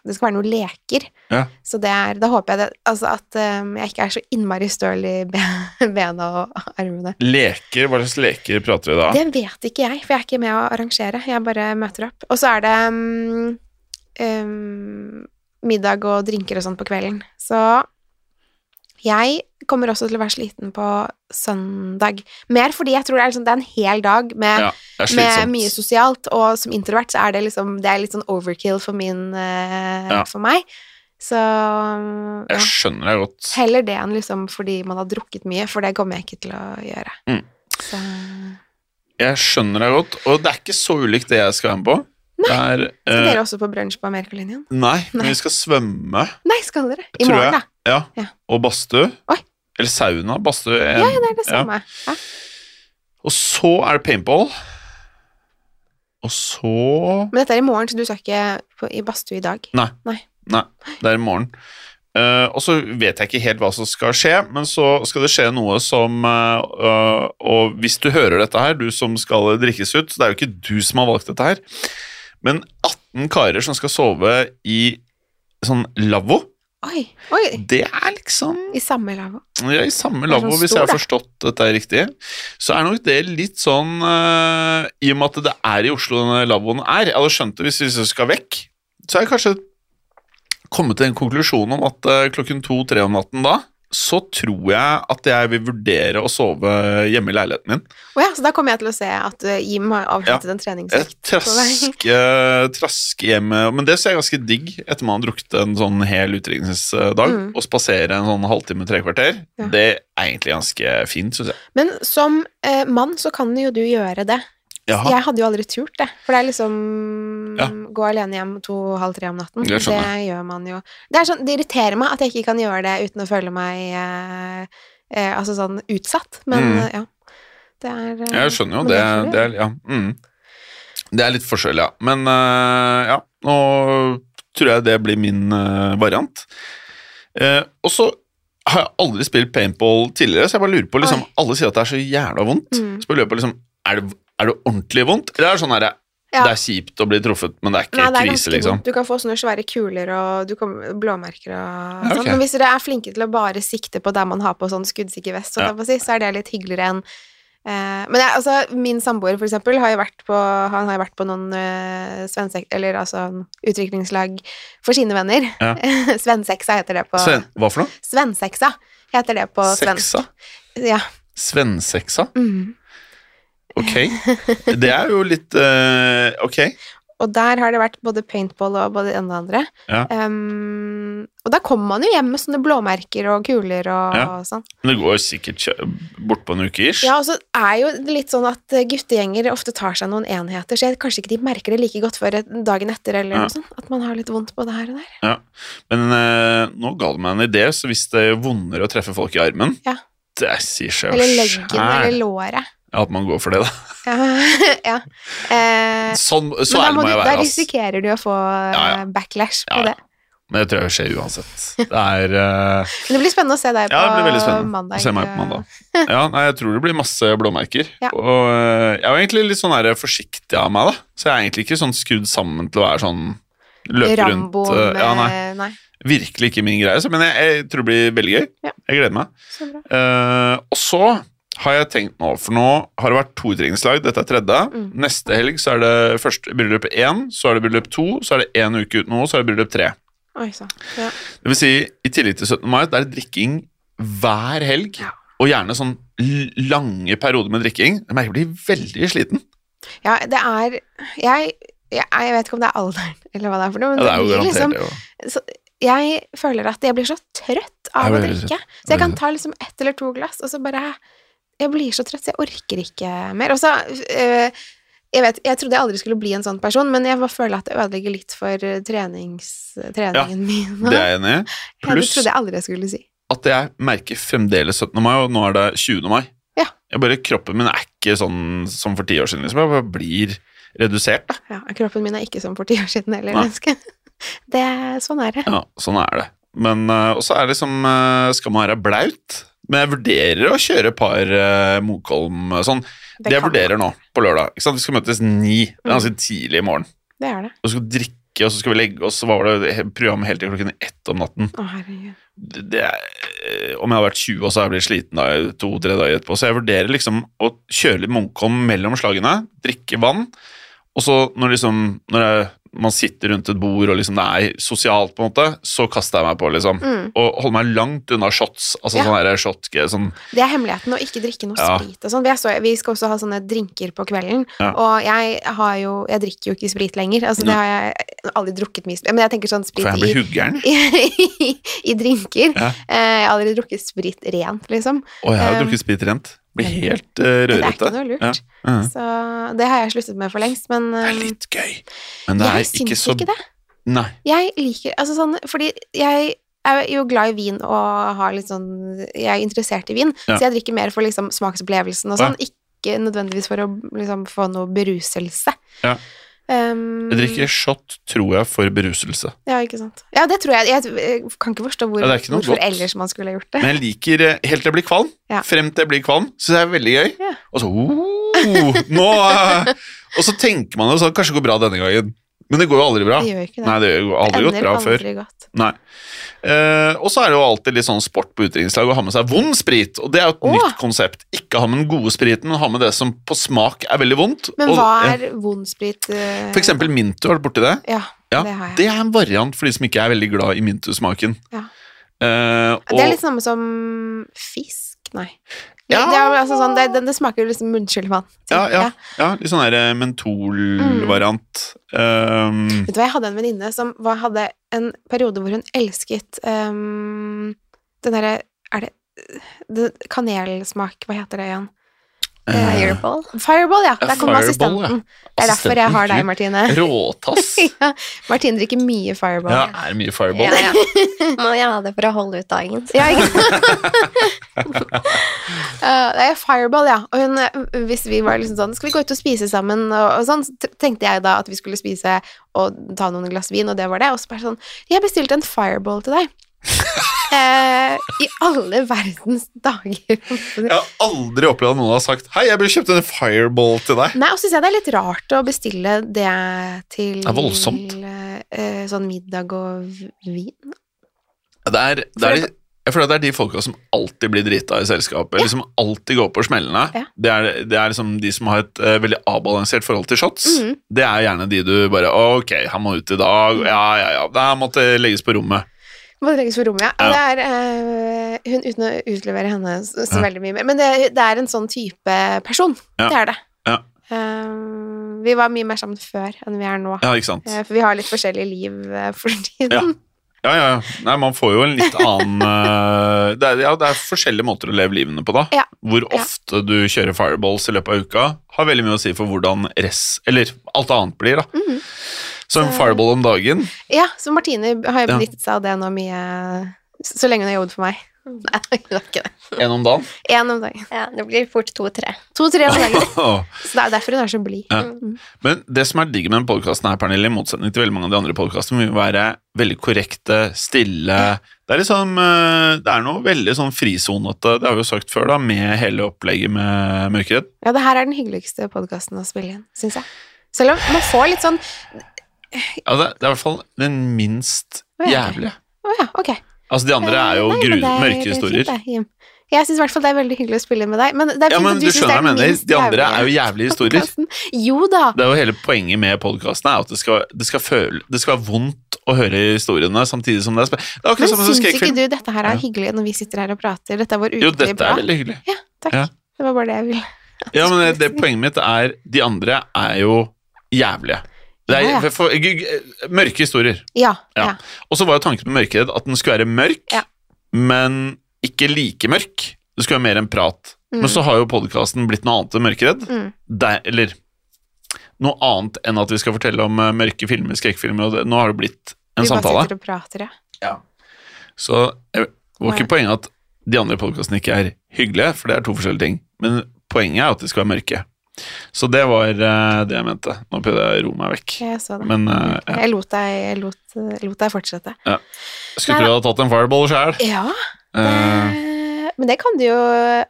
B: Det skal være noen leker.
A: Ja.
B: Så det er Da håper jeg det, altså at ehm, jeg ikke er så innmari støl i be- <laughs> bena og armene.
A: Leker, hva slags leker prater vi da?
B: Det vet ikke jeg, for jeg er ikke med å arrangere. Jeg bare møter opp. Og så er det ehm, ehm, middag og drinker og sånn på kvelden. Så jeg kommer også til å være sliten på søndag. Mer fordi jeg tror det er, liksom, det er en hel dag med,
A: Ja, det er
B: med mye
A: slitsomt.
B: sosialt, og som introvert så er det liksom Det er litt sånn overkill for min eh,
A: Ja.
B: For meg. Så mm, ja.
A: Jeg skjønner deg godt.
B: Heller det enn liksom fordi man har drukket mye, for det kommer jeg ikke til å gjøre.
A: Mm.
B: Så
A: Jeg skjønner deg godt, og det er ikke så ulikt det jeg skal være med på. Det er,
B: Skal
A: eh,
B: dere også på brunsj på Amerikalinjen?
A: nei, men
B: Nei.
A: vi skal svømme
B: Nei, skal dere? I
A: Tror
B: morgen,
A: jeg.
B: da.
A: ja.
B: Ja.
A: og badstue.
B: Oi.
A: Eller sauna. Badstue.
B: Ja, ja, det er det samme. Ja.
A: Og så er det paintball. Og så
B: Men dette er i morgen, så du skal ikke på, i badstue i dag.
A: Det er i morgen. Eh, og så vet jeg ikke helt hva som skal skje, men så skal det skje noe som eh, øh, Og hvis du hører dette her, du som skal drikkes ut, så det er jo ikke du som har valgt dette her, men 18 karer som skal sove i sånn lavvo,
B: Oi, oi!
A: det er liksom
B: I samme lavvo.
A: ja, I samme
B: er
A: lavvo,
B: sånn
A: hvis jeg har
B: stor, da.
A: forstått dette riktig, så er nok det litt sånn eh, I og med at det er i Oslo denne lavvoen er. Jeg hadde skjønt det hvis vi skal vekk. Så har jeg kanskje kommet til den konklusjonen om at eh, klokken to-tre om natten da, så tror jeg at jeg vil vurdere å sove hjemme i leiligheten min.
B: Å ja, så da kommer jeg til å se at eh, Jim har avsluttet en
A: Jeg
B: treningsøkt. på vei.
A: traske, eh, traske hjemme Men det ser jeg ganske digg etter man har drukket en sånn hel utdrikningsdag.
B: Mm.
A: Å spasere en sånn halvtime, tre kvarter,
B: Ja.
A: det er egentlig ganske fint, syns jeg.
B: Men som eh, mann så kan jo du gjøre det.
A: Jaha.
B: Jeg hadde jo aldri turt det. For det er liksom
A: Ja.
B: Gå alene hjem to-halv tre om natten.
A: Det
B: Det,
A: skjønner
B: gjør man jo. Det, er sånn, det irriterer meg at jeg ikke kan gjøre det uten å føle meg eh, eh, Altså sånn utsatt. Men
A: Mm.
B: eh, ja. Det er eh,
A: Jeg skjønner jo
B: men
A: det.
B: får du
A: Det er, ja. mm. det er litt forskjell, ja. Men eh, ja, nå tror jeg det blir min eh, variant. Eh, og så har jeg aldri spilt paintball tidligere, så jeg bare lurer på liksom,
B: Oi.
A: Alle sier at det er så jævla vondt.
B: Mm.
A: Så bare lurer jeg på liksom, er det, er det ordentlig vondt? Eller er det sånn her,
B: Ja.
A: det er kjipt å bli truffet, men det er ikke
B: Nei, det er ganske
A: krise, liksom?
B: vondt. Du kan få sånne svære kuler og du kommer, blåmerker og
A: Ja,
B: sånn.
A: ok.
B: Men hvis dere er flinke til å bare sikte på der man har på sånn skuddsikker vest, sånn
A: Ja.
B: jeg får si, så er det litt hyggeligere enn eh, men jeg, altså, min samboer, for eksempel, har jo vært på, han har jo vært på noen uh, svensek... Eller altså utviklingslag for sine venner. <laughs>
A: Ja.
B: Svenseksa heter det på
A: Sven, hva for noe?
B: Svenseksa heter det på svensk.
A: Seksa?
B: Ja.
A: Svenseksa?
B: Mm.
A: Ok.
B: <laughs>
A: Det er jo litt eh, Ok.
B: Og der har det vært både paintball og både det ene og det andre.
A: Ja.
B: Ehm, og da kommer man jo hjem med sånne blåmerker og kuler og,
A: Ja.
B: og sånn.
A: Men det går sikkert kjø- bort på en uke, ish.
B: Ja, og så er jo det litt sånn at eh, guttegjenger ofte tar seg noen enheter, så jeg, kanskje ikke de merker det like godt før et- dagen etter eller
A: Ja.
B: noe sånt. At man har litt vondt både her og der.
A: Men eh, nå ga du meg en idé, så hvis det vonder å treffe folk i armen
B: Ja.
A: Det sier seg
B: Eller
A: jo
B: leggen eller
A: sjæl
B: låret.
A: at man går for det, da.
B: Ja. ja. <laughs> Eh,
A: Sånn, så
B: men da,
A: ærlig må
B: du,
A: jeg
B: da
A: være, ass.
B: risikerer du å få eh,
A: Ja, ja.
B: backlash på
A: Ja, ja.
B: det.
A: Men det tror jeg skjer uansett. Det er eh,
B: Men det blir spennende å se deg på
A: Ja, det blir veldig spennende
B: mandag.
A: å se meg på mandag. Ja, nei, jeg tror det blir masse blåmerker.
B: Ja.
A: Og eh, jeg er jo egentlig litt sånn her forsiktig av meg, da. Så jeg er egentlig ikke sånn skrudd sammen til å være sånn løpe
B: Rambo
A: rundt eh,
B: med
A: ja, nei,
B: nei.
A: Virkelig ikke min greie, så, men jeg, jeg tror det blir veldig gøy.
B: Ja.
A: Jeg gleder meg.
B: Så bra.
A: Eh, og så har jeg tenkt nå, for nå har det vært to utdrikningslag, dette er tredje.
B: Mm.
A: Neste helg så er det først bryllup én, så er det bryllup to, så er det én uke uten noe, så er det bryllup tre.
B: Oi sann. Ja.
A: Det vil si, i tillegg til 17. mai, det er drikking hver helg,
B: Ja.
A: og gjerne sånn l- lange perioder med drikking. Jeg merker jeg blir veldig sliten.
B: Ja, det er jeg, jeg, jeg vet ikke om det er alderen, <laughs> eller hva det er for noe, men
A: Ja, det er jo
B: blir
A: garantert
B: liksom
A: det. jo.
B: Jeg føler at jeg blir så trøtt av
A: Jeg
B: å
A: blir veldig
B: drikke.
A: Jeg
B: Så jeg kan
A: blir
B: ta liksom ett eller to glass, og så bare Jeg blir så trøtt, så jeg orker ikke mer. Og så øh, Jeg vet, jeg trodde jeg aldri skulle bli en sånn person, men jeg bare føler at det ødelegger litt for øh, trenings, treningen min.
A: Det er jeg enig i.
B: Ja, det
A: Pluss
B: trodde jeg aldri jeg skulle si.
A: at jeg merker fremdeles 17. mai, og nå er det 20. mai.
B: Ja.
A: Jeg bare, kroppen min er ikke sånn som for ti år siden. Liksom. Jeg bare blir redusert. Da.
B: Ja, kroppen min er ikke som for ti år siden heller.
A: Nei.
B: menneske. <laughs> Det, sånn er det.
A: Ja, sånn er det. Men uh, også er det liksom eh, Skal man være blaut? Men jeg vurderer å kjøre par eh, Mokolm eh, sånn. Det, jeg
B: kan-
A: vurderer nå, på lørdag. Ikke sant? Vi skal møtes ni. Det er Ganske tidlig i morgen.
B: Det er det.
A: Og så skal vi drikke, og så skal vi legge oss. Så var det he- program helt til klokken ett om natten.
B: Å, herregud.
A: Det, det er, eh, om jeg har vært 20 og så har jeg blitt sliten da, i to-tre dager etterpå. Så jeg vurderer liksom å kjøre litt Munkholm mellom slagene, drikke vann. Og så når, liksom, når jeg, man sitter rundt et bord og liksom det er sosialt, på en måte, så kaster jeg meg på, liksom.
B: Mm.
A: Og holder meg langt unna shots. Altså
B: Ja.
A: sånn der shot, sånn
B: Det er hemmeligheten å ikke drikke noe
A: Ja.
B: sprit og sånn. Vi, er så- vi skal også ha sånne drinker på kvelden,
A: Ja.
B: og jeg har jo Jeg drikker jo ikke sprit lenger. Altså, det
A: Nei.
B: har jeg aldri drukket mye sprit Men jeg tenker sånn sprit
A: For jeg
B: i
A: blir huggeren.
B: <laughs> i, i drinker.
A: Ja.
B: Eh, jeg har aldri drukket sprit rent, liksom.
A: Og jeg har jo
B: Um,
A: drukket sprit rent. Blir helt eh,
B: Det er
A: rørete.
B: ikke noe lurt.
A: Ja. Ja.
B: Så det har jeg sluttet med for lengst, men
A: Det
B: eh,
A: er litt gøy, men det
B: jeg
A: er
B: syns
A: ikke så
B: ikke det.
A: Nei.
B: Jeg liker Altså sånn Fordi jeg er jo glad i vin og har litt sånn Jeg er interessert i vin,
A: Ja.
B: så jeg drikker mer for liksom smaksopplevelsen
A: Ja.
B: og sånn. Ikke nødvendigvis for å liksom få noe beruselse.
A: Ja.
B: Um,
A: Jeg drikker shot, tror jeg, for beruselse.
B: Ja, ikke sant. Ja, det tror jeg. Jeg, jeg kan ikke forstå hvor,
A: Ja, det er ikke noe
B: hvorfor
A: godt.
B: ellers man skulle gjort det.
A: Men jeg liker eh, helt til jeg blir kvalm.
B: Ja.
A: Frem til jeg blir kvalm, syns jeg er veldig gøy.
B: Ja.
A: Og så oh, nå, eh, Og så tenker man jo sånn Kanskje det går bra denne gangen. Men det går jo aldri bra.
B: Det gjør jo ikke det.
A: Nei, det har aldri gått
B: Ender
A: bra før.
B: aldri godt.
A: Nei. Eh, og så er det jo alltid litt sånn sport på utdrikningslag å ha med seg vond sprit. Og det er jo et
B: Åh.
A: nytt konsept. Ikke ha med den gode spriten, men ha med det som på smak er veldig vondt.
B: Men
A: og,
B: hva
A: eh,
B: er vond sprit? eh,
A: For eksempel Mintu, har du borti det?
B: Ja,
A: Ja,
B: det har jeg.
A: Det er en variant for de som ikke er veldig glad i Mintu-smaken.
B: Ja.
A: Eh,
B: Det er
A: og-
B: litt samme som fisk, nei.
A: Ja.
B: Det, er vel altså sånn, det, det, det smaker jo liksom munnskylvann.
A: Ja, ja. Ja, litt sånn der eh, mentolvariant.
B: Mm.
A: Um,
B: Vet du hva, jeg hadde en venninne som var, hadde en periode hvor hun elsket ehm, den derre Er det, det Kanelsmak, hva heter det igjen?
A: eh,
C: Fireball.
B: Fireball, ja.
A: Ja,
B: Der
A: Fireball, ja.
B: kommer assistenten. Det er derfor jeg har deg, Martine.
A: <laughs>
B: <laughs>
A: Råtass.
B: ja, Martine drikker mye Fireball.
A: Ja, er det mye fireball.
C: Ja, ja. Må jeg ha det for å holde ut dagen.
B: Ja, ikke sant? Eh, det er Fireball, ja. Og hun, eh, hvis vi var liksom sånn Skal vi gå ut og spise sammen? Og, og sånn, så t- tenkte jeg da at vi skulle spise og ta noen glass vin, og det var det. Og så bare sånn Jeg bestilte en Fireball til deg. Eh, I alle verdens dager.
A: Jeg har aldri opplevd at noen har sagt 'Hei, jeg burde kjøpt en fireball til deg'.
B: Nei, og så syns jeg det er litt rart å bestille det til
A: Det er voldsomt.
B: eh, sånn middag og v- vin.
A: Det er, det er de, jeg føler at det er de folka som alltid blir drita i selskapet. Liksom alltid går på smellene.
B: Ja.
A: Det, er, det er liksom de som har et eh, veldig avbalansert forhold til shots.
B: Mhm.
A: Det er gjerne de du bare 'Ok, han må ut i dag'. Ja, ja, ja. Det her måtte legges på rommet.
B: Må det legges på rommet, ja.
A: Ja.
B: Det er, eh, hun, uten å utlevere henne så, så
A: Ja.
B: veldig mye mer. Men det, det er en sånn type person.
A: Ja.
B: Det er det.
A: Ja.
B: Eh, vi var mye mer sammen før enn vi er nå.
A: Ja, ikke sant.
B: Eh, for vi har litt forskjellige liv eh, for tiden.
A: Ja, ja. ja. Nei, man får jo en litt annen <laughs> eh, det, er, ja, det er forskjellige måter å leve livene på, da.
B: Ja.
A: Hvor
B: Ja.
A: ofte du kjører fireballs i løpet av uka, har veldig mye å si for hvordan rest Eller alt annet blir, da.
B: Mhm.
A: Så en
B: Så-
A: fireball om dagen
B: Ja. så Martine har jo
A: Ja.
B: benyttet seg av det nå mye Så, så lenge hun har jobbet for meg. <laughs> Nei, hun har ikke det.
A: En om dagen. <laughs>
B: Én om dagen.
C: Ja, det blir fort to-tre.
B: To-tre om dagen.
A: Åh.
B: Så det er derfor hun er så blid.
A: Ja.
B: Mm.
A: Men det som er digg med denne podkasten, i motsetning til veldig mange av de andre podkastene, vil jo være veldig korrekte, stille Det er liksom eh, Det er noe veldig sånn frisonete, det har vi jo sagt før, da, med hele opplegget med Mørkeredd.
B: Ja, det her er den hyggeligste podkasten å spille inn, syns jeg. Selv om man får litt sånn
A: Ja, Altså, det, det er i hvert fall den minst
B: Å, ja.
A: jævlige.
B: Å ja, ok.
A: Altså, de andre er jo
B: Nei, men
A: gru,
B: det er
A: mørke
B: fint,
A: historier.
B: det, Jim. Jeg syns i hvert fall det er veldig hyggelig å spille med deg. Men det er fint
A: Ja, men
B: at
A: du
B: synes det
A: skjønner hva jeg
B: den
A: mener.
B: minst
A: De andre er jo
B: jævlige
A: jævlige historier.
B: podcasten. Jo da.
A: Det er jo hele poenget med podkasten, er at det skal, det, skal føle, det skal være vondt å høre historiene samtidig som det er spennende. Det er
B: Men
A: akkurat samme som sånn
B: syns ikke
A: skrekkfilm.
B: du dette her
A: Ja.
B: er hyggelig når vi sitter her og prater? Dette er vår
A: Jo,
B: ukelige
A: dette er
B: prat.
A: veldig hyggelig.
B: Takk.
A: ja.
B: Det var bare det jeg ville.
A: Ja, men det, det poenget mitt er De andre er jo jævlige. Det er,
B: Ja, ja.
A: for- For, g- g- mørke historier.
B: Ja.
A: Ja.
B: ja.
A: Og så var jo tanken med Mørkeredd at den skulle være mørk,
B: Ja.
A: men ikke like mørk. Det skulle være mer enn prat.
B: Mm.
A: Men så har jo podkasten blitt noe annet enn Mørkeredd.
B: Mm.
A: Der, eller noe annet enn at vi skal fortelle om eh, mørke filmer, skrekkfilmer, og det, nå har det blitt en
B: vi
A: samtale.
B: bare sitter og prater, ja.
A: Så jeg- det var ikke
B: Nei.
A: poenget at de andre podkastene ikke er hyggelige, for det er to forskjellige ting. Men Poenget er at de skal være mørke. Så det var eh, det jeg mente. Nå prøvde jeg å roe meg vekk.
B: Jeg så det. Mm.
A: Men eh, ja.
B: Jeg lot deg, jeg lot, lot deg fortsette.
A: jeg skulle tro jeg hadde tatt en fireball Eh, sjæl.
B: Ja, det, men det kan du jo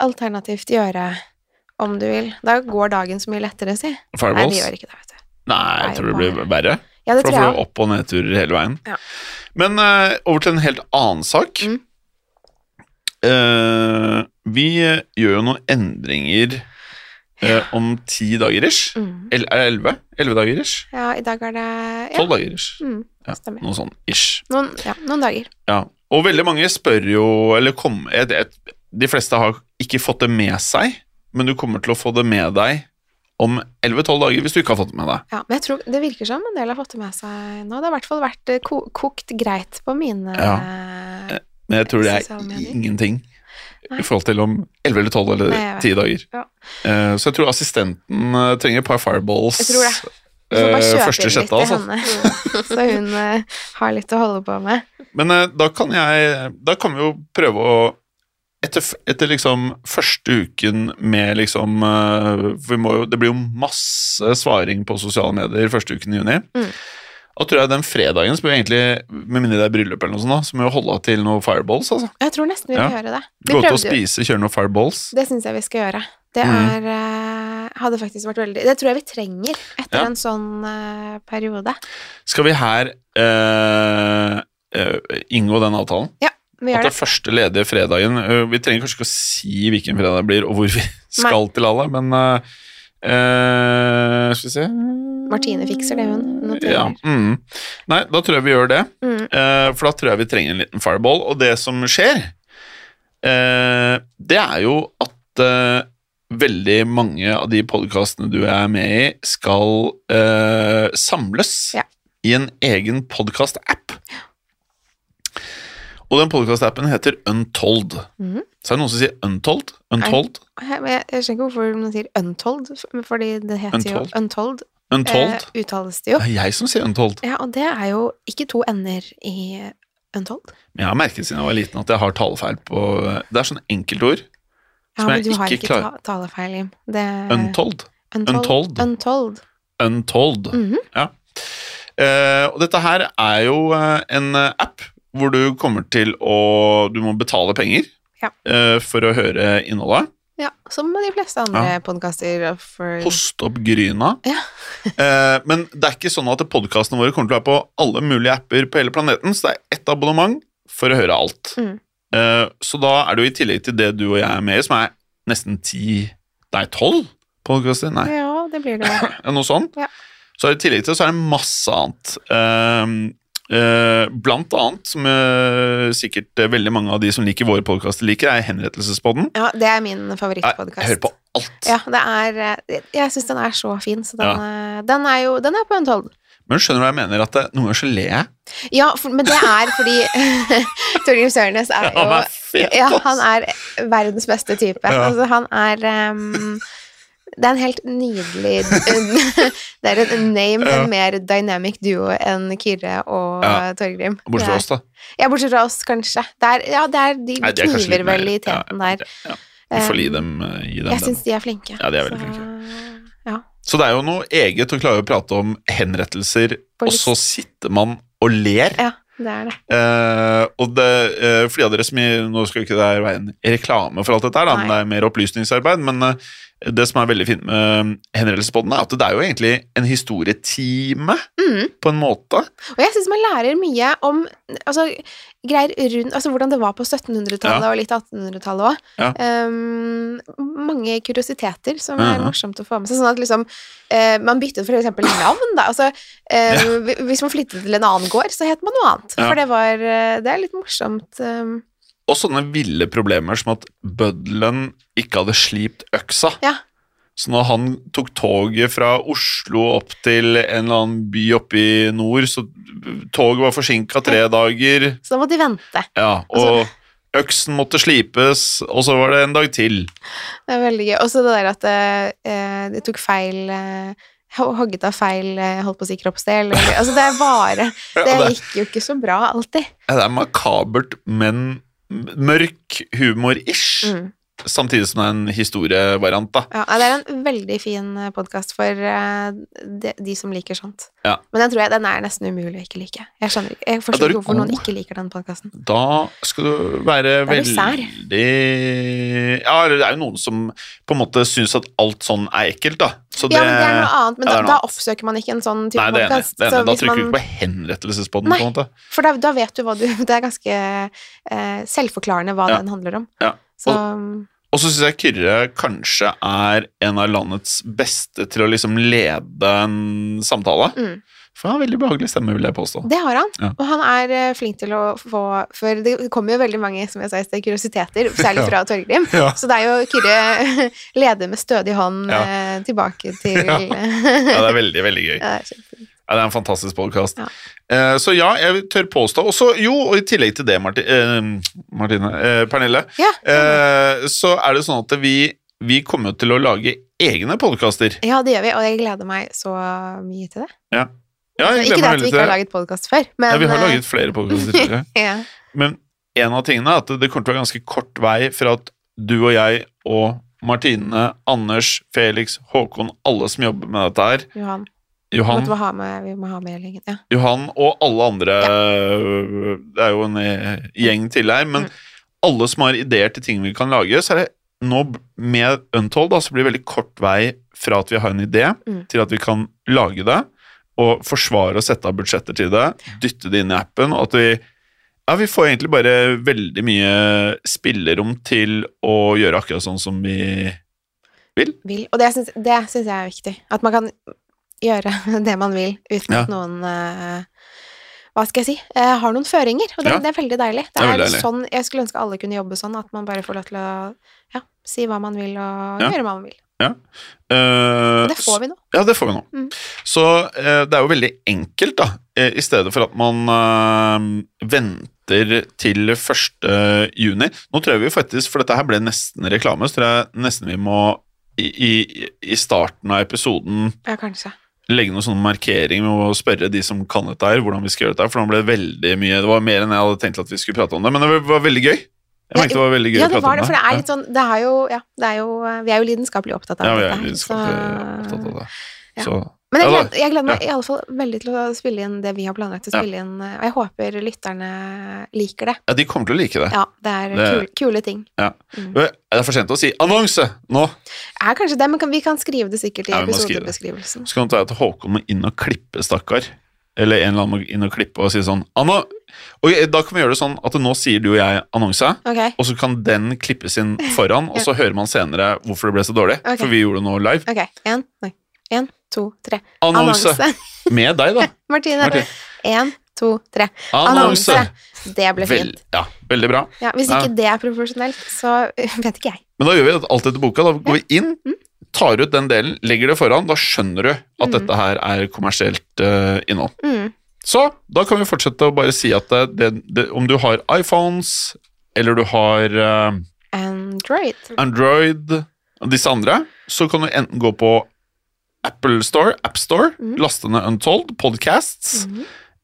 B: alternativt gjøre om du vil. Da går dagen så mye lettere, si. Nei,
A: fireballs?
B: det gjør ikke det, vet du.
A: Nei, jeg tror det blir verre.
B: Ja, det
A: For da
B: tror
A: får du
B: jeg.
A: opp- og nedturer hele veien.
B: Ja.
A: Men eh, over til en helt annen sak.
B: Mm.
A: Eh, vi gjør jo noen endringer eh, om ti dager ish.
B: også. Mm.
A: El- Er det elleve? Elleve dager ish?
B: Ja, i dag er det ja.
A: Tolv dager ish.
B: Mm,
A: Ja.
B: stemmer.
A: Noe sånn ish.
B: Noen, ja, noen dager.
A: Ja. Og veldig mange spør jo Eller kom, jeg- jeg- de fleste har ikke fått det med seg, men du kommer til å få det med deg om 11-12 dager hvis du ikke har fått det med deg.
B: Ja, men jeg tror Det virker som en del har fått det med seg nå. Det har i hvert fall vært eh, ko kokt greit på mine
A: Ja.
B: eh,
A: Men jeg tror det er
B: Sosiale medier.
A: ingenting
B: Nei.
A: i forhold til om 11 eller 12 eller
B: Nei, jeg vet.
A: 10 dager.
B: Ja.
A: Eh, så jeg tror assistenten eh, trenger et par fireballs
B: Jeg tror det.
A: eh,
B: Vi får bare kjøpe
A: første
B: inn
A: sjette,
B: litt til
A: altså.
B: henne, <laughs> så hun eh, har litt å holde på med.
A: Men eh, da kan jeg Da kan vi jo prøve å etter, f- etter liksom første uken med liksom eh, for vi må jo, Det blir jo masse svaring på sosiale medier første uken i juni.
B: Mm.
A: Da tror jeg den fredagen, så bør vi egentlig, med mindre det er bryllup eller noe sånt, da, så må vi holde av til noen fireballs. altså.
B: Jeg tror nesten vi
A: Ja.
B: vil gjøre det. Vi
A: Gå ut og
B: prøvde jo-
A: spise, kjøre noen fireballs.
B: Det syns jeg vi skal gjøre. Det
A: Mhm.
B: er eh, Hadde faktisk vært veldig Det tror jeg vi trenger etter
A: Ja.
B: en sånn eh, periode.
A: Skal vi her eh, eh, inngå den avtalen?
B: Vi
A: At det
B: gjør det.
A: er første ledige fredagen eh, Vi trenger kanskje ikke å si hvilken fredag det blir, og hvor vi <laughs> skal til alle, men eh, eh, Skal vi se
B: Martine fikser det, hun noterer.
A: Ja. Mm. Nei, da tror jeg vi gjør det.
B: Mm.
A: Eh, for da tror jeg vi trenger en liten fireball. Og det som skjer, eh, det er jo at eh, veldig mange av de podkastene du er med i, skal eh, samles
B: Ja.
A: i en egen podkast-app. Og den podkast-appen heter Untold.
B: Mhm.
A: Så er det noen som sier Untold? Untold?
B: Jeg, men jeg, jeg skjønner ikke hvorfor man sier untold, f- fordi det heter
A: Untold.
B: jo untold.
A: Untold?
B: Eh, uttales det jo.
A: Det er jeg som sier Untold.
B: Ja, og det er jo ikke to ender i untold.
A: Men jeg har merket siden jeg var liten at jeg har talefeil på Det er sånn enkeltord.
B: Ja,
A: Som
B: men
A: jeg
B: du har
A: ikke
B: ikke ta,
A: klarer.
B: talefeil, Jim. Det
A: Untold. untold.
B: Untold. untold.
A: Untold.
B: Mhm.
A: Ja. Eh, og dette her er jo eh, en eh, app hvor du kommer til å Du må betale penger
B: Ja.
A: eh, for å høre innholdet.
B: Ja, som med de fleste andre podkaster. For...
A: Poste opp gryna.
B: Ja.
A: <laughs> Eh, men det er ikke sånn at podkastene våre kommer til å være på alle mulige apper på hele planeten, så det er ett abonnement for å høre alt.
B: Mm.
A: Eh, så da er det jo i tillegg til det du og jeg er med i, som er nesten ti Nei, tolv podkaster? Nei.
B: Ja, det blir det. vel.
A: Ja, noe sånt.
B: Ja.
A: Så i tillegg til det så er det masse annet. Ehm, eh, blant annet, som eh, sikkert eh, veldig mange av de som liker våre podkaster liker, er Henrettelsespodden.
B: Ja, det er min
A: Jeg
B: favorittpodkast.
A: hører på alt.
B: Ja, det er eh, Jeg syns den er så fin, så den, eh, den er jo Den er på en tolv.
A: Men skjønner du hva jeg mener? At det, noen ganger så ler jeg.
B: Ja, for, men det er fordi <laughs> Torgrim Sørnes er jo
A: <laughs> Han er fet,
B: Ja,
A: ass.
B: han er verdens beste type.
A: Ja.
B: Altså, han er ehm, Det er en helt nydelig <laughs> Det er en name,
A: Ja.
B: en mer dynamic duo enn Kyrre og
A: Ja.
B: Torgrim.
A: Bortsett fra
B: Det er-
A: oss, da.
B: Ja, bortsett fra oss, kanskje. Det er, ja, det er, de
A: Nei, det er kanskje
B: kniver
A: litt mer-
B: vel i
A: ja,
B: teten der.
A: Ja. Vi får gi
B: Eh,
A: dem, eh, gi dem
B: Jeg
A: den.
B: syns de er flinke.
A: Ja, de er veldig
B: så- Ja.
A: Så det er jo noe eget å klare å prate om henrettelser,
B: På
A: og
B: litt-
A: så sitter man og ler.
B: ja, det er det.
A: Eh, og det, eh, for de av dere som gir- Nå skal jo ikke det her være en reklame for alt dette, her, da, men det
B: Nei.
A: er mer opplysningsarbeid. Men eh, det som er veldig fint med eh, Henrettelsespodden, er at det er jo egentlig en historietime,
B: Mhm.
A: på en måte.
B: Og jeg syns man lærer mye om altså, greier rundt Altså hvordan det var på 1700-tallet
A: Ja.
B: og litt 1800-tallet òg.
A: Ja.
B: mange kuriositeter som
A: Mhm.
B: er morsomt å få med seg. Sånn at liksom eh, Man byttet for eksempel navn, da. Altså eh, hvi- Hvis man flyttet til en annen gård, så het man noe annet.
A: Ja.
B: For det var eh, Det er litt morsomt. ehm,
A: Og sånne ville problemer som at bøddelen ikke hadde slipt øksa.
B: Ja.
A: Så når han tok toget fra Oslo opp til en eller annen by oppe i nord, så toget var forsinka tre dager.
B: så da måtte de vente.
A: Ja,
B: Altså-
A: og øksen måtte slipes, og så var det en dag til.
B: Det er veldig gøy. Og så det der at eh, det tok feil eh, ho- Hogget av feil, eh, holdt på å si kroppsdel. eller- Altså, det er bare
A: <laughs> Ja,
B: Det
A: det-
B: gikk jo ikke så bra alltid.
A: Ja, det er makabert, men mørk humor-ish.
B: Mm.
A: samtidig som det er en historievariant, da.
B: Ja, nei, det er en veldig fin podkast for eh, de, de som liker sånt.
A: Ja.
B: Men den tror jeg den er nesten umulig å ikke like. Jeg skjønner ikke, jeg
A: Ja, da er
B: forstår
A: du
B: ikke hvorfor noen
A: god.
B: ikke liker den podkasten.
A: Da skal du være
B: Da er du
A: veldig
B: sær.
A: Ja, eller det er jo noen som på en måte syns at alt sånn er ekkelt, da. Så
B: Ja, men det er noe annet,
A: ja, det
B: men da,
A: er noe
B: da
A: annet.
B: oppsøker man ikke en sånn type
A: Nei, det er enig.
B: podkast.
A: Det er enig. Da trykker du ikke på henrettelsespodden,
B: Nei.
A: på en måte.
B: For da, da vet du hva du <laughs> Det er ganske eh, selvforklarende hva
A: Ja.
B: den handler om.
A: Ja.
B: Så mm,
A: Og så syns jeg Kyrre kanskje er en av landets beste til å liksom lede en samtale.
B: Mm.
A: For han har veldig behagelig stemme, vil jeg
B: <laughs>
A: påstå.
B: det har han.
A: Ja.
B: Og han er eh, flink til å få For det kommer jo veldig mange, som jeg sa i sted, kuriositeter,
A: <laughs>
B: særlig
A: Ja.
B: fra Torgrim.
A: Ja.
B: Så det er jo Kyrre <laughs> leder med stødig hånd
A: Ja.
B: eh, tilbake
A: <laughs>
B: til eh,
A: Ja. Ja,
B: Ja,
A: det er veldig, veldig gøy.
B: det er kjempefint.
A: Ja, det er en fantastisk podkast.
B: Ja.
A: Eh, så ja, jeg tør påstå også, Jo, og i tillegg til det, Marti, eh, Martine eh, Pernille,
B: <laughs> Ja,
A: eh, så er det sånn at vi, vi kommer jo til å lage egne podkaster.
B: ja, det gjør vi, og jeg gleder meg så mye til det.
A: Ja, jeg
B: Altså, Ikke
A: gleder meg
B: det at vi
A: veldig
B: ikke
A: til
B: har
A: det.
B: laget podkast før, men
A: Ja, vi har
B: eh,
A: laget flere podkaster tidligere.
B: <laughs> ja.
A: Men en av tingene er at det kommer til å være ganske kort vei fra at du og jeg og Martine, Anders, Felix, Håkon, alle som jobber med dette her,
B: Johan.
A: Johan,
B: Vi må ha med, vi må ha med legen. Ja.
A: Johan og alle andre øh, Det er jo en eh, gjeng til her, men
B: Mm.
A: alle som har ideer til ting vi kan lage, så er det nå b- med Untold da, så blir det veldig kort vei fra at vi har en idé,
B: Mm.
A: til at vi kan lage det, og forsvare og sette av budsjetter til det, dytte det inn i appen, og at vi ja, Vi får egentlig bare veldig mye spillerom til å gjøre akkurat sånn som vi
B: Vil. Og det syns, det syns jeg er viktig. At man kan gjøre <laughs> det man vil uten
A: Ja.
B: at noen eh, hva skal jeg si? eh, har noen føringer, og det,
A: Ja.
B: det er veldig deilig. Det
A: Det er
B: er
A: veldig deilig.
B: Sånn, jeg skulle ønske alle kunne jobbe sånn, at man bare får lov til å ja, si hva man vil, og
A: Ja.
B: gjøre hva man vil.
A: uh,
B: Og det får vi nå.
A: Ja, det får vi nå.
B: Mm.
A: Så eh, det er jo veldig enkelt, da. Eh, I stedet for at man eh, venter til 1. juni. Nå tror jeg vi faktisk, for dette her ble nesten reklame, så tror jeg nesten vi må i, i, i starten av episoden
B: Ja, kanskje.
A: legge noen sånne markeringer med å spørre de som kan dette her, hvordan vi skal gjøre dette her, for nå ble det veldig mye Det var mer enn jeg hadde tenkt at vi skulle prate om det, men det var veldig gøy. Jeg merket det var veldig gøy
B: Ja,
A: å
B: det
A: prate
B: var det,
A: om
B: for det er
A: Ja.
B: litt sånn Det er jo Ja, det er jo eh, Vi er jo lidenskapelig opptatt av
A: Ja, vi
B: dette
A: er
B: her,
A: litt
B: så-
A: opptatt av det. Så
B: Men jeg
A: Ja,
B: gleder, jeg gleder meg i alle fall veldig til å spille inn det vi har planlagt å
A: Ja.
B: spille inn, eh, og jeg håper lytterne liker det.
A: ja, de kommer til å like det.
B: Ja, det er
A: Det-
B: Kule, kule ting.
A: Det er for sent å si 'annonse' nå!
B: Er kanskje det, men kan, vi kan skrive det sikkert i
A: Ja, vi må skrive det.
B: episodebeskrivelsen.
A: Så kan det være at Håkon må inn og klippe, stakkar. Eller en eller annen må inn og klippe og si sånn Anna, og Da kan vi gjøre det sånn at nå sier du og jeg 'annonse',
B: Ok,
A: og så kan den klippes inn foran, og så hører man senere hvorfor det ble så dårlig.
B: Ok.
A: For vi gjorde det nå live.
B: ok. En, nei. En, to, tre.
A: Annonse!
B: Annonse. <laughs>
A: Med deg, da.
B: Martine.
A: Martin.
B: En, to, tre.
A: Annonse!
B: Det ble
A: Vel,
B: fint.
A: ja, veldig bra.
B: Ja, hvis
A: Ja.
B: ikke det er profesjonelt, så <laughs> vet ikke jeg.
A: Men da gjør vi alt etter boka. Da går vi inn,
B: Mm.
A: tar ut den delen, legger det foran. Da skjønner du at
B: Mhm.
A: dette her er kommersielt eh, innhold.
B: Mm.
A: Så da kan vi fortsette å bare si at det, det, det, om du har iPhones, eller du har eh,
B: Android.
A: Android og disse andre, så kan du enten gå på Apple Store, App Store,
B: Mhm.
A: laste ned Untold, Podcasts,
B: Mhm.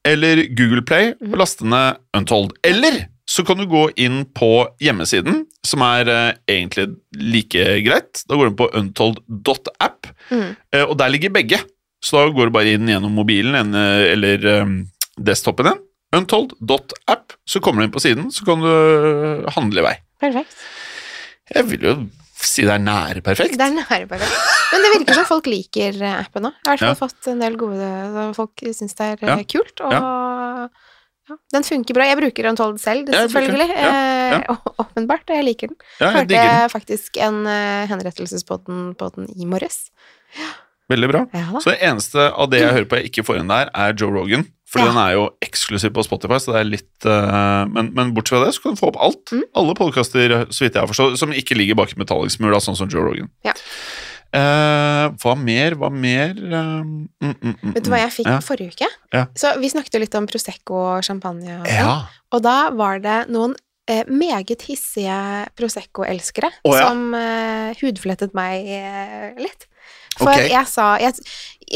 A: eller Google Play
B: Mhm.
A: og laste ned Untold. Eller så kan du gå inn på hjemmesiden, som er eh, egentlig like greit. Da går du inn på untold.app,
B: Mm.
A: Eh, Og der ligger begge. Så da går du bare inn gjennom mobilen en, eh, eller eh, desktopen din. Untold.app. Så kommer du inn på siden, så kan du eh, handle i vei.
B: Perfekt.
A: Jeg vil jo si det er nære perfekt.
B: Det er nære bare. Men det virker som folk liker eh, appen nå. Jeg har i hvert fall
A: Ja.
B: fått en del gode så Folk syns det er eh,
A: Ja.
B: kult, og ja. den funker bra. Jeg bruker Untold selv,
A: Ja, jeg bruker den.
B: selvfølgelig.
A: Ja, ja.
B: Eh, og- <laughs> Åpenbart, og jeg liker den.
A: Ja, jeg
B: Hørte
A: digger den.
B: jeg faktisk en eh, henrettelsespodden på den i morges.
A: Veldig bra.
B: Ja da.
A: Så det eneste av det jeg hører på jeg ikke får inn der, er Joe Rogan. Fordi
B: Ja.
A: den er jo eksklusiv på Spotify, så det er litt eh, men, men bortsett fra det, så kan du få opp alt.
B: Mm.
A: Alle podkaster, så vidt jeg har forstått, som ikke ligger bak i betalingsmula, sånn som Joe Rogan.
B: Ja.
A: Eh, hva mer, hva mer eh, mm, mm, mm,
B: Vet du hva jeg fikk
A: Ja.
B: forrige uke?
A: Ja.
B: Så vi snakket jo litt om Prosecco og champagne. Og, sånn.
A: mm. Ja.
B: og da var det noen eh, meget hissige Prosecco-elskere
A: Å, ja.
B: som eh, hudflettet meg eh, litt. For
A: Ok.
B: jeg sa jeg,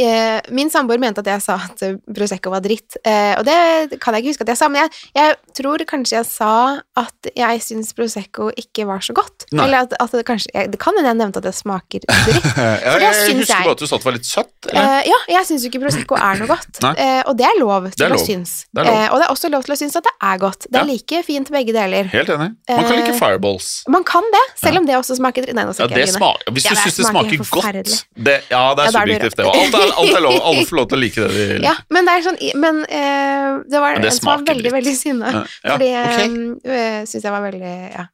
B: eh, Min samboer mente at jeg sa at Prosecco var dritt, eh, og det kan jeg ikke huske at jeg sa, men jeg, jeg tror kanskje jeg sa at jeg syns Prosecco ikke var så godt.
A: Nei.
B: Eller at, at det kanskje jeg, Det kan hende jeg nevnte at det
A: <laughs>
B: smaker dritt.
A: Ja,
B: For det
A: Eh, jeg,
B: syns
A: husker
B: jeg.
A: bare at du sa at det var litt søtt. Eller?
B: Eh, ja, jeg syns jo ikke Prosecco er noe godt,
A: Nei.
B: Eh, og det er lov til
A: er lov.
B: å synes.
A: Det er lov.
B: Eh, og det er også lov til å synes at det er godt. Det er
A: Ja.
B: like fint begge deler.
A: Helt enig. Man kan like
B: eh,
A: fireballs.
B: Man kan det, selv om det også smaker dritt. Nei, nå
A: Ja,
B: skal
A: det
B: jeg grine.
A: smaker, hvis
B: Ja,
A: du
B: det
A: syns det
B: smaker
A: smaker
B: helt
A: godt
B: forferdelig.
A: det, Ja, det er
B: Ja, da er det
A: subjektivt, det òg. Alt, er- alt er lov. Alle får lov til å like det
B: <laughs>
A: de vil.
B: Ja, men det er sånn Men eh, det var
A: Men det
B: en som var
A: smaker
B: veldig,
A: dritt.
B: veldig sinna.
A: Ja, ja,
B: Fordi eh,
A: ok.
B: jeg syns jeg var veldig ja,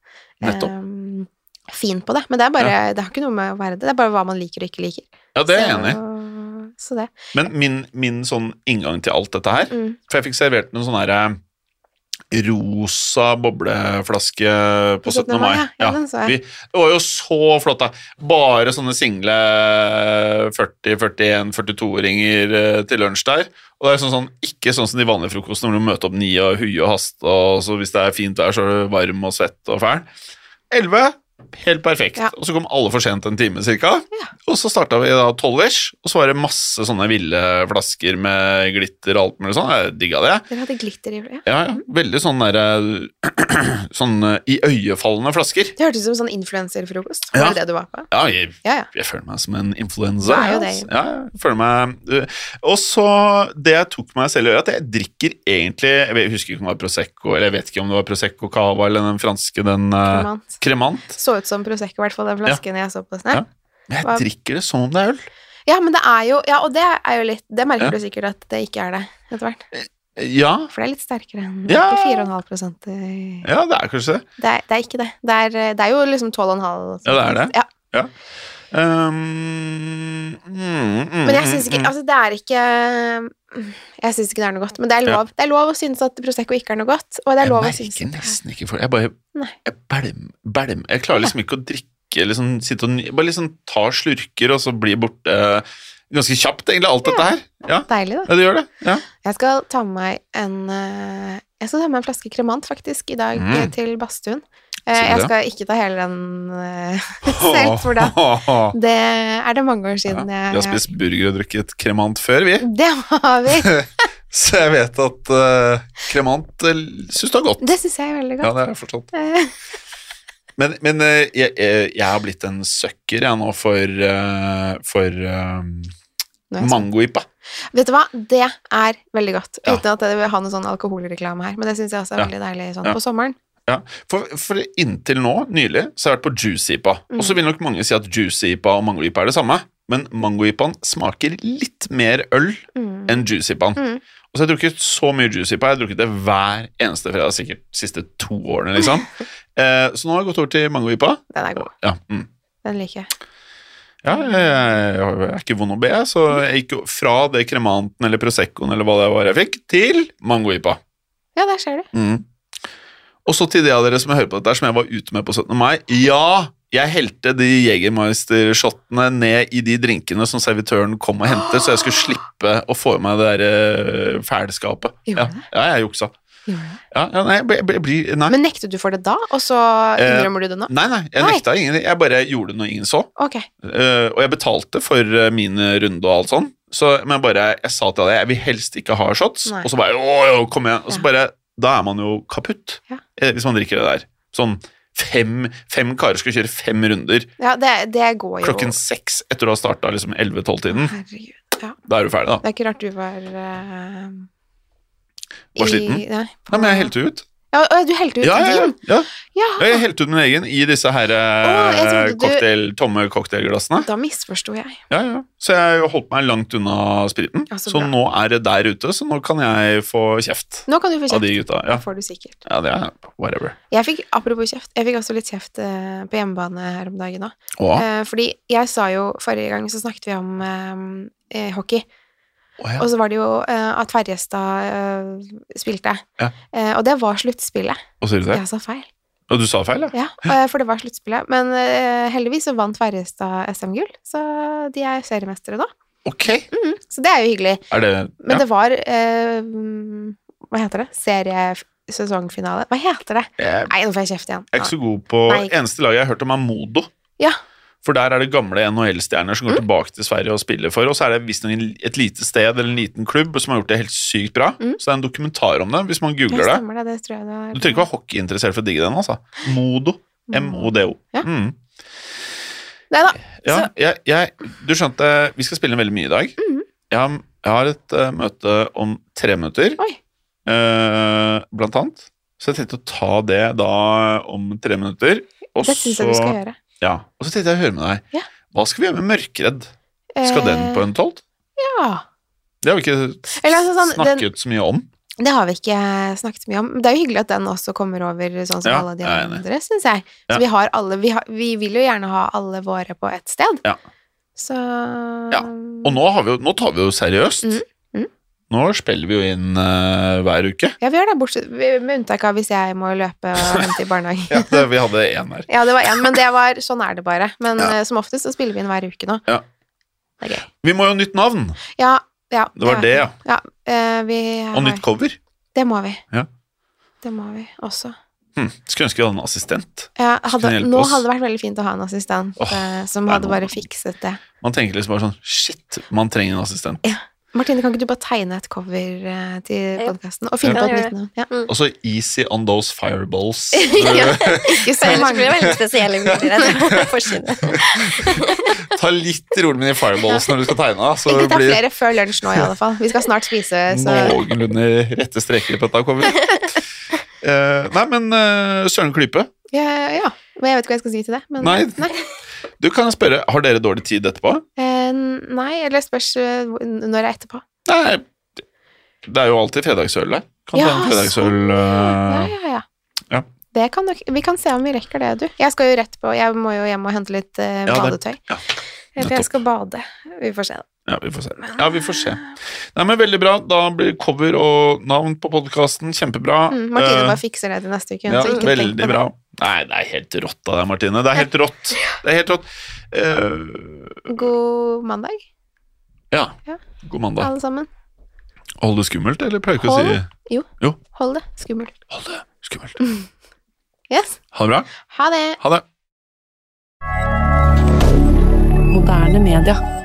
A: Nettopp.
B: ehm, fin på det. Men det er bare Det har ikke noe med å være det. Det er bare hva man liker og ikke liker.
A: ja, det er jeg enig i.
B: i. Så det.
A: Men min, min sånn inngang til alt dette her
B: Mm.
A: For jeg fikk servert en sånn her eh, rosa bobleflaske på 17. mai.
B: ja. Ja,
A: Ja.
B: den så
A: Vi,
B: jeg.
A: det var jo så flott, da. Bare sånne single eh, 40, 41, 42-ringer eh, til lunsj der. Og det er sånn, sånn ikke sånn som de vanlige frokostene, hvor du møter opp ni og hui og hast, og så hvis det er fint vær, så er du varm og svett og fæl. 11, helt perfekt.
B: Ja.
A: Og så kom alle for sent en time cirka.
B: Ja.
A: Og så starta vi da tolvers, og så var det masse sånne ville flasker med glitter og alt mulig sånn. Jeg digga det.
B: Dere hadde glitter i ja.
A: Ja, ja. Veldig sånn derre Sånn eh, <clears throat> iøynefallende flasker.
B: Det hørtes ut som sånn influenserfrokost.
A: Ja.
B: Var det det du var på?
A: Ja, jeg,
B: Ja, ja.
A: jeg føler meg som en influensa.
B: Du er jo
A: ja,
B: det.
A: altså. Ja, jeg føler meg eh, Og så Det jeg tok meg selv i, er at jeg drikker egentlig Jeg vet- jeg husker ikke om det var Prosecco, eller jeg vet ikke om det var Prosecco Cava eller den franske, den eh,
B: Cremant.
A: Cremant.
B: Så ut som Prosecco, i hvert fall, den flasken jeg så på Snap.
A: Men
B: Hva-
A: jeg drikker det som om det er øl.
B: Ja, men det er jo Ja, og det er jo litt Det merker
A: Ja.
B: du sikkert at det ikke er det etter hvert.
A: Ja,
B: For det er litt sterkere enn
A: Ja.
B: ikke 4,5 i-
A: ja det er kanskje det.
B: det er, det er ikke det. Det er, eh, det er jo liksom 12,5
A: Ja, det er det.
B: Ja.
A: Um, mm, mm,
B: Men jeg syns ikke
A: mm,
B: Altså, det er ikke mm, Jeg syns ikke det er noe godt, men det er
A: Ja.
B: lov. Det er lov å synes at Prosecco ikke er noe godt, og det er
A: Jeg
B: lov å
A: merker
B: synes at det er-
A: nesten ikke for Jeg bare
B: Nei.
A: jeg bælm, bælm. Jeg klarer liksom ikke å drikke eller sånn, sitte og ny- Bare liksom ta slurker, og så bli borte eh, ganske kjapt, egentlig, alt dette her. Ja,
B: Deilig, da.
A: ja det gjør det. Ja.
B: Jeg skal ta med meg en eh, Jeg skal ta med meg en flaske kremant, faktisk, i dag
A: Mm.
B: eh, til badstuen. Eh,
A: Sier du
B: Jeg
A: det?
B: skal ikke ta hele den eh, selv,
A: <laughs>
B: for da Det er det mange år
A: Ja.
B: siden
A: Vi har
B: jeg
A: spist burger og drukket kremant før, vi.
B: <laughs>
A: <laughs>
B: Det har vi!
A: Så jeg vet at eh, kremant uh, syns du er godt.
B: Det syns jeg er veldig
A: Ja,
B: godt.
A: det har jeg forstått.
B: Eh, <laughs>
A: Men, men eh, jeg, jeg, jeg har blitt en søkker, jeg nå, for, eh, for eh,
B: nå er jeg
A: Mangoipa.
B: Vet du hva, det er veldig godt.
A: Ja.
B: Uten at jeg vil ha noe sånn alkoholreklame her, men det syns jeg også er
A: Ja.
B: veldig deilig sånn
A: Ja.
B: på sommeren.
A: Ja. For, for inntil nå, nylig, så har jeg vært på juice-ipa. Og så vil nok mange si at juice-ipa og mangoipa er det samme, men mangoipaen smaker litt mer øl
B: Mm.
A: enn juice-ipaen.
B: Mm.
A: Og så har jeg drukket så mye juice-ipa. Jeg har drukket det hver eneste fredag sikkert de siste to årene, liksom. eh, så nå har jeg gått over til mangoipa.
B: Den er god.
A: Ja, mm.
B: Den liker jeg.
A: Ja, jeg, jeg, jeg er ikke vond å be, så jeg gikk jo fra det kremanten eller proseccoen eller hva det var jeg fikk, til mangoipa.
B: Ja, der ser du.
A: Mm. Og så til de av dere som hører på dette, her, som jeg var ute med på 17. mai. Ja, jeg helte de Jegermeister-shottene ned i de drinkene som servitøren kom og hentet, så jeg skulle slippe å få i meg det der eh, fælskapet.
B: Gjorde
A: Ja,
B: du det?
A: ja, jeg juksa.
B: Gjorde du det?
A: Ja, ja, nei, jeg ble- ble- blir- nei.
B: Men nektet du for det da, og så
A: Eh,
B: innrømmer du det nå?
A: nei, nei, jeg
B: Nei.
A: nekta ingenting. Jeg bare gjorde det når ingen så.
B: Ok.
A: Eh, og jeg betalte for eh, min runde og alt sånn. Så, men jeg bare, jeg sa til deg, jeg vil helst ikke ha shots.
B: Nei.
A: Og så bare, å, jo, kom igjen. Og så
B: Ja.
A: bare, da er man jo kaputt.
B: Ja.
A: eh, Hvis man drikker det der. Sånn fem, fem karer skal kjøre fem runder
B: Ja, det, det går jo
A: klokken seks etter å ha starta liksom 11-12-tiden.
B: Herregud. Ja.
A: Da er du ferdig, da.
B: Det er ikke rart du var eh,
A: Var
B: i-
A: sliten?
B: Nei, på-
A: Nei, men jeg helte ut.
B: Ja, å, du helte ut
A: Ja, ja,
B: din?
A: ja.
B: Ja.
A: ja jeg helte ut min egen i disse her
B: Å, jeg
A: eh,
B: trodde du-
A: cocktail, tomme cocktailglassene.
B: Da misforsto jeg.
A: Ja, ja. Så jeg holdt meg langt unna spriten.
B: Ja, så
A: så
B: bra.
A: nå er det der ute, så nå kan jeg få kjeft
B: Nå kan du få
A: av de
B: kjeft.
A: gutta. Ja.
B: Får du sikkert.
A: Ja, det er whatever.
B: Jeg fikk, apropos kjeft, jeg fikk også litt kjeft eh, på hjemmebane her om dagen òg.
A: Å
B: Eh, fordi jeg sa jo forrige gang så snakket vi om eh, eh, hockey,
A: å ja.
B: og så var det jo eh, at Ferjestad eh, spilte.
A: Ja.
B: Eh, og det var sluttspillet.
A: Og så er det det.
B: Jeg sa feil.
A: Og du sa feil, ja?
B: Ja, eh, for det var sluttspillet. Men eh, heldigvis så vant Ferjestad SM-gull, så de er seriemestere nå.
A: Ok.
B: Mhm, så det er jo hyggelig.
A: Er det
B: Men
A: ja.
B: det var eh, mm, Hva heter det? Seriesesongfinale? Hva heter det?
A: Jeg
B: Nei, nå får jeg kjeft igjen.
A: er ikke så god på
B: Nei.
A: Eneste laget jeg har hørt om, er Modo.
B: Ja. Mm.
A: For der er det gamle NHL-stjerner som går tilbake til Sverige og spiller for. Og så er det visstnok en- et lite sted eller en liten klubb som har gjort det helt sykt bra.
B: Mm.
A: Så det er en dokumentar om det, hvis man googler det.
B: stemmer det. Det tror jeg du har
A: Du trenger ikke være hockeyinteressert for å digge den, altså. Modo. M-O-D-O.
B: Ja.
A: Mm.
B: Nei da.
A: Ja,
B: Så-
A: jeg, jeg, du skjønte, vi skal spille inn veldig mye i dag.
B: Mhm.
A: Jeg, har, jeg har et eh, møte om tre minutter,
B: Oi.
A: eh, blant annet. Så jeg tenkte å ta det da om tre minutter. Og
B: Det syns jeg du skal
A: så,
B: gjøre.
A: ja, og så tenkte jeg å høre med deg.
B: Ja.
A: Hva skal vi gjøre med Mørkredd? Skal den på en tolv?
B: Eh, Ja.
A: Det har vi ikke
B: Eller altså sånn, den-
A: snakket så mye om.
B: Det har vi ikke eh, snakket mye om. men Det er jo hyggelig at den også kommer over sånn som
A: Ja,
B: alle de
A: jeg er enig.
B: andre, syns jeg. Så
A: Ja.
B: vi har alle vi, har, vi vil jo gjerne ha alle våre på ett sted.
A: Ja.
B: Så
A: Ja, Og nå, har vi, jo- nå tar vi jo seriøst.
B: Mhm. Mhm.
A: Nå spiller vi jo inn eh, hver uke.
B: Ja, vi gjør det, bortsett med unntak av hvis jeg må
A: <laughs>
B: løpe og hente i barnehagen.
A: Ja, det, vi hadde én her.
B: <laughs> Ja, det var én, men det var, sånn er det bare. Men
A: Ja.
B: eh, som oftest så spiller vi inn hver uke nå.
A: Ja.
B: Det er gøy.
A: Vi må jo ha nytt navn.
B: Ja, ja.
A: Det var det, ja.
B: eh, vi
A: Og nytt
B: har,
A: cover.
B: det må vi.
A: Ja.
B: Det må vi også.
A: Hm, skulle ønske vi hadde en assistent.
B: Ja,
A: Skulle
B: hadde,
A: hjelpe
B: nå
A: oss.
B: hadde det vært veldig fint å ha en assistent
A: Åh,
B: eh, som
A: det er
B: hadde
A: noe.
B: bare fikset det.
A: Man tenker liksom bare sånn Shit, man trenger en assistent.
B: Martine, kan ikke du bare tegne et cover eh, til
C: Ja.
B: podkasten? Og finne
A: Ja.
B: på et
C: Ja, ja,
B: nytt navn? Ja.
A: Og så easy on those fireballs.
B: <laughs> Ja. Ikke så
C: Ellers blir <laughs> det
B: mange.
C: veldig spesielle bilder.
A: <laughs>
C: jeg tror, på forsiden.
A: Ta litt rolig med de fireballs når du skal tegne, da, så
B: Ikke
A: det
B: ta
A: blir
B: flere før lunsj nå, i alle fall. Vi skal snart spise, så
A: noenlunde rette streker på dette coveret.
B: <laughs>
A: Eh, nei, men eh, Søren Klype,
B: ja, ja. Men jeg vet ikke hva jeg skal si til det. Men,
A: Nei.
B: Nei.
A: du kan jeg spørre, har dere dårlig tid etterpå?
B: Eh, nei, eller spørs eh, hvor- når det er etterpå.
A: Nei, det er jo alltid fredagsøl der. Kan
B: Ja,
A: ta en fredagsøl
B: Ja,
A: eh,
B: ja, ja.
A: Ja.
B: Det kan nok, vi kan se om vi rekker det, du. Jeg skal jo rett på Jeg må jo hjem og hente litt eh,
A: Ja, det-
B: badetøy.
A: ja.
B: For
A: Nettopp.
B: jeg skal bade. Vi får se, da.
A: Ja, vi får se. Ja, vi får se. Nei, men Veldig bra. Da blir cover og navn på podkasten kjempebra.
B: Mm, Martine
A: Eh,
B: bare fikser det til neste uke.
A: Ja,
B: så ikke tenk på
A: veldig
B: det.
A: bra. Nei, det er helt rått av deg, Martine. Det er helt rått. Det er helt rått. Eh,
B: God mandag,
A: ja.
B: Ja.
A: God mandag.
B: alle sammen.
A: Hold det skummelt, eller pleier du ikke å si
B: Hold det skummelt.
A: Hold det skummelt.
B: Yes.
A: Ha det bra.
B: Ha det.
A: Ha det.
D: Moderne media.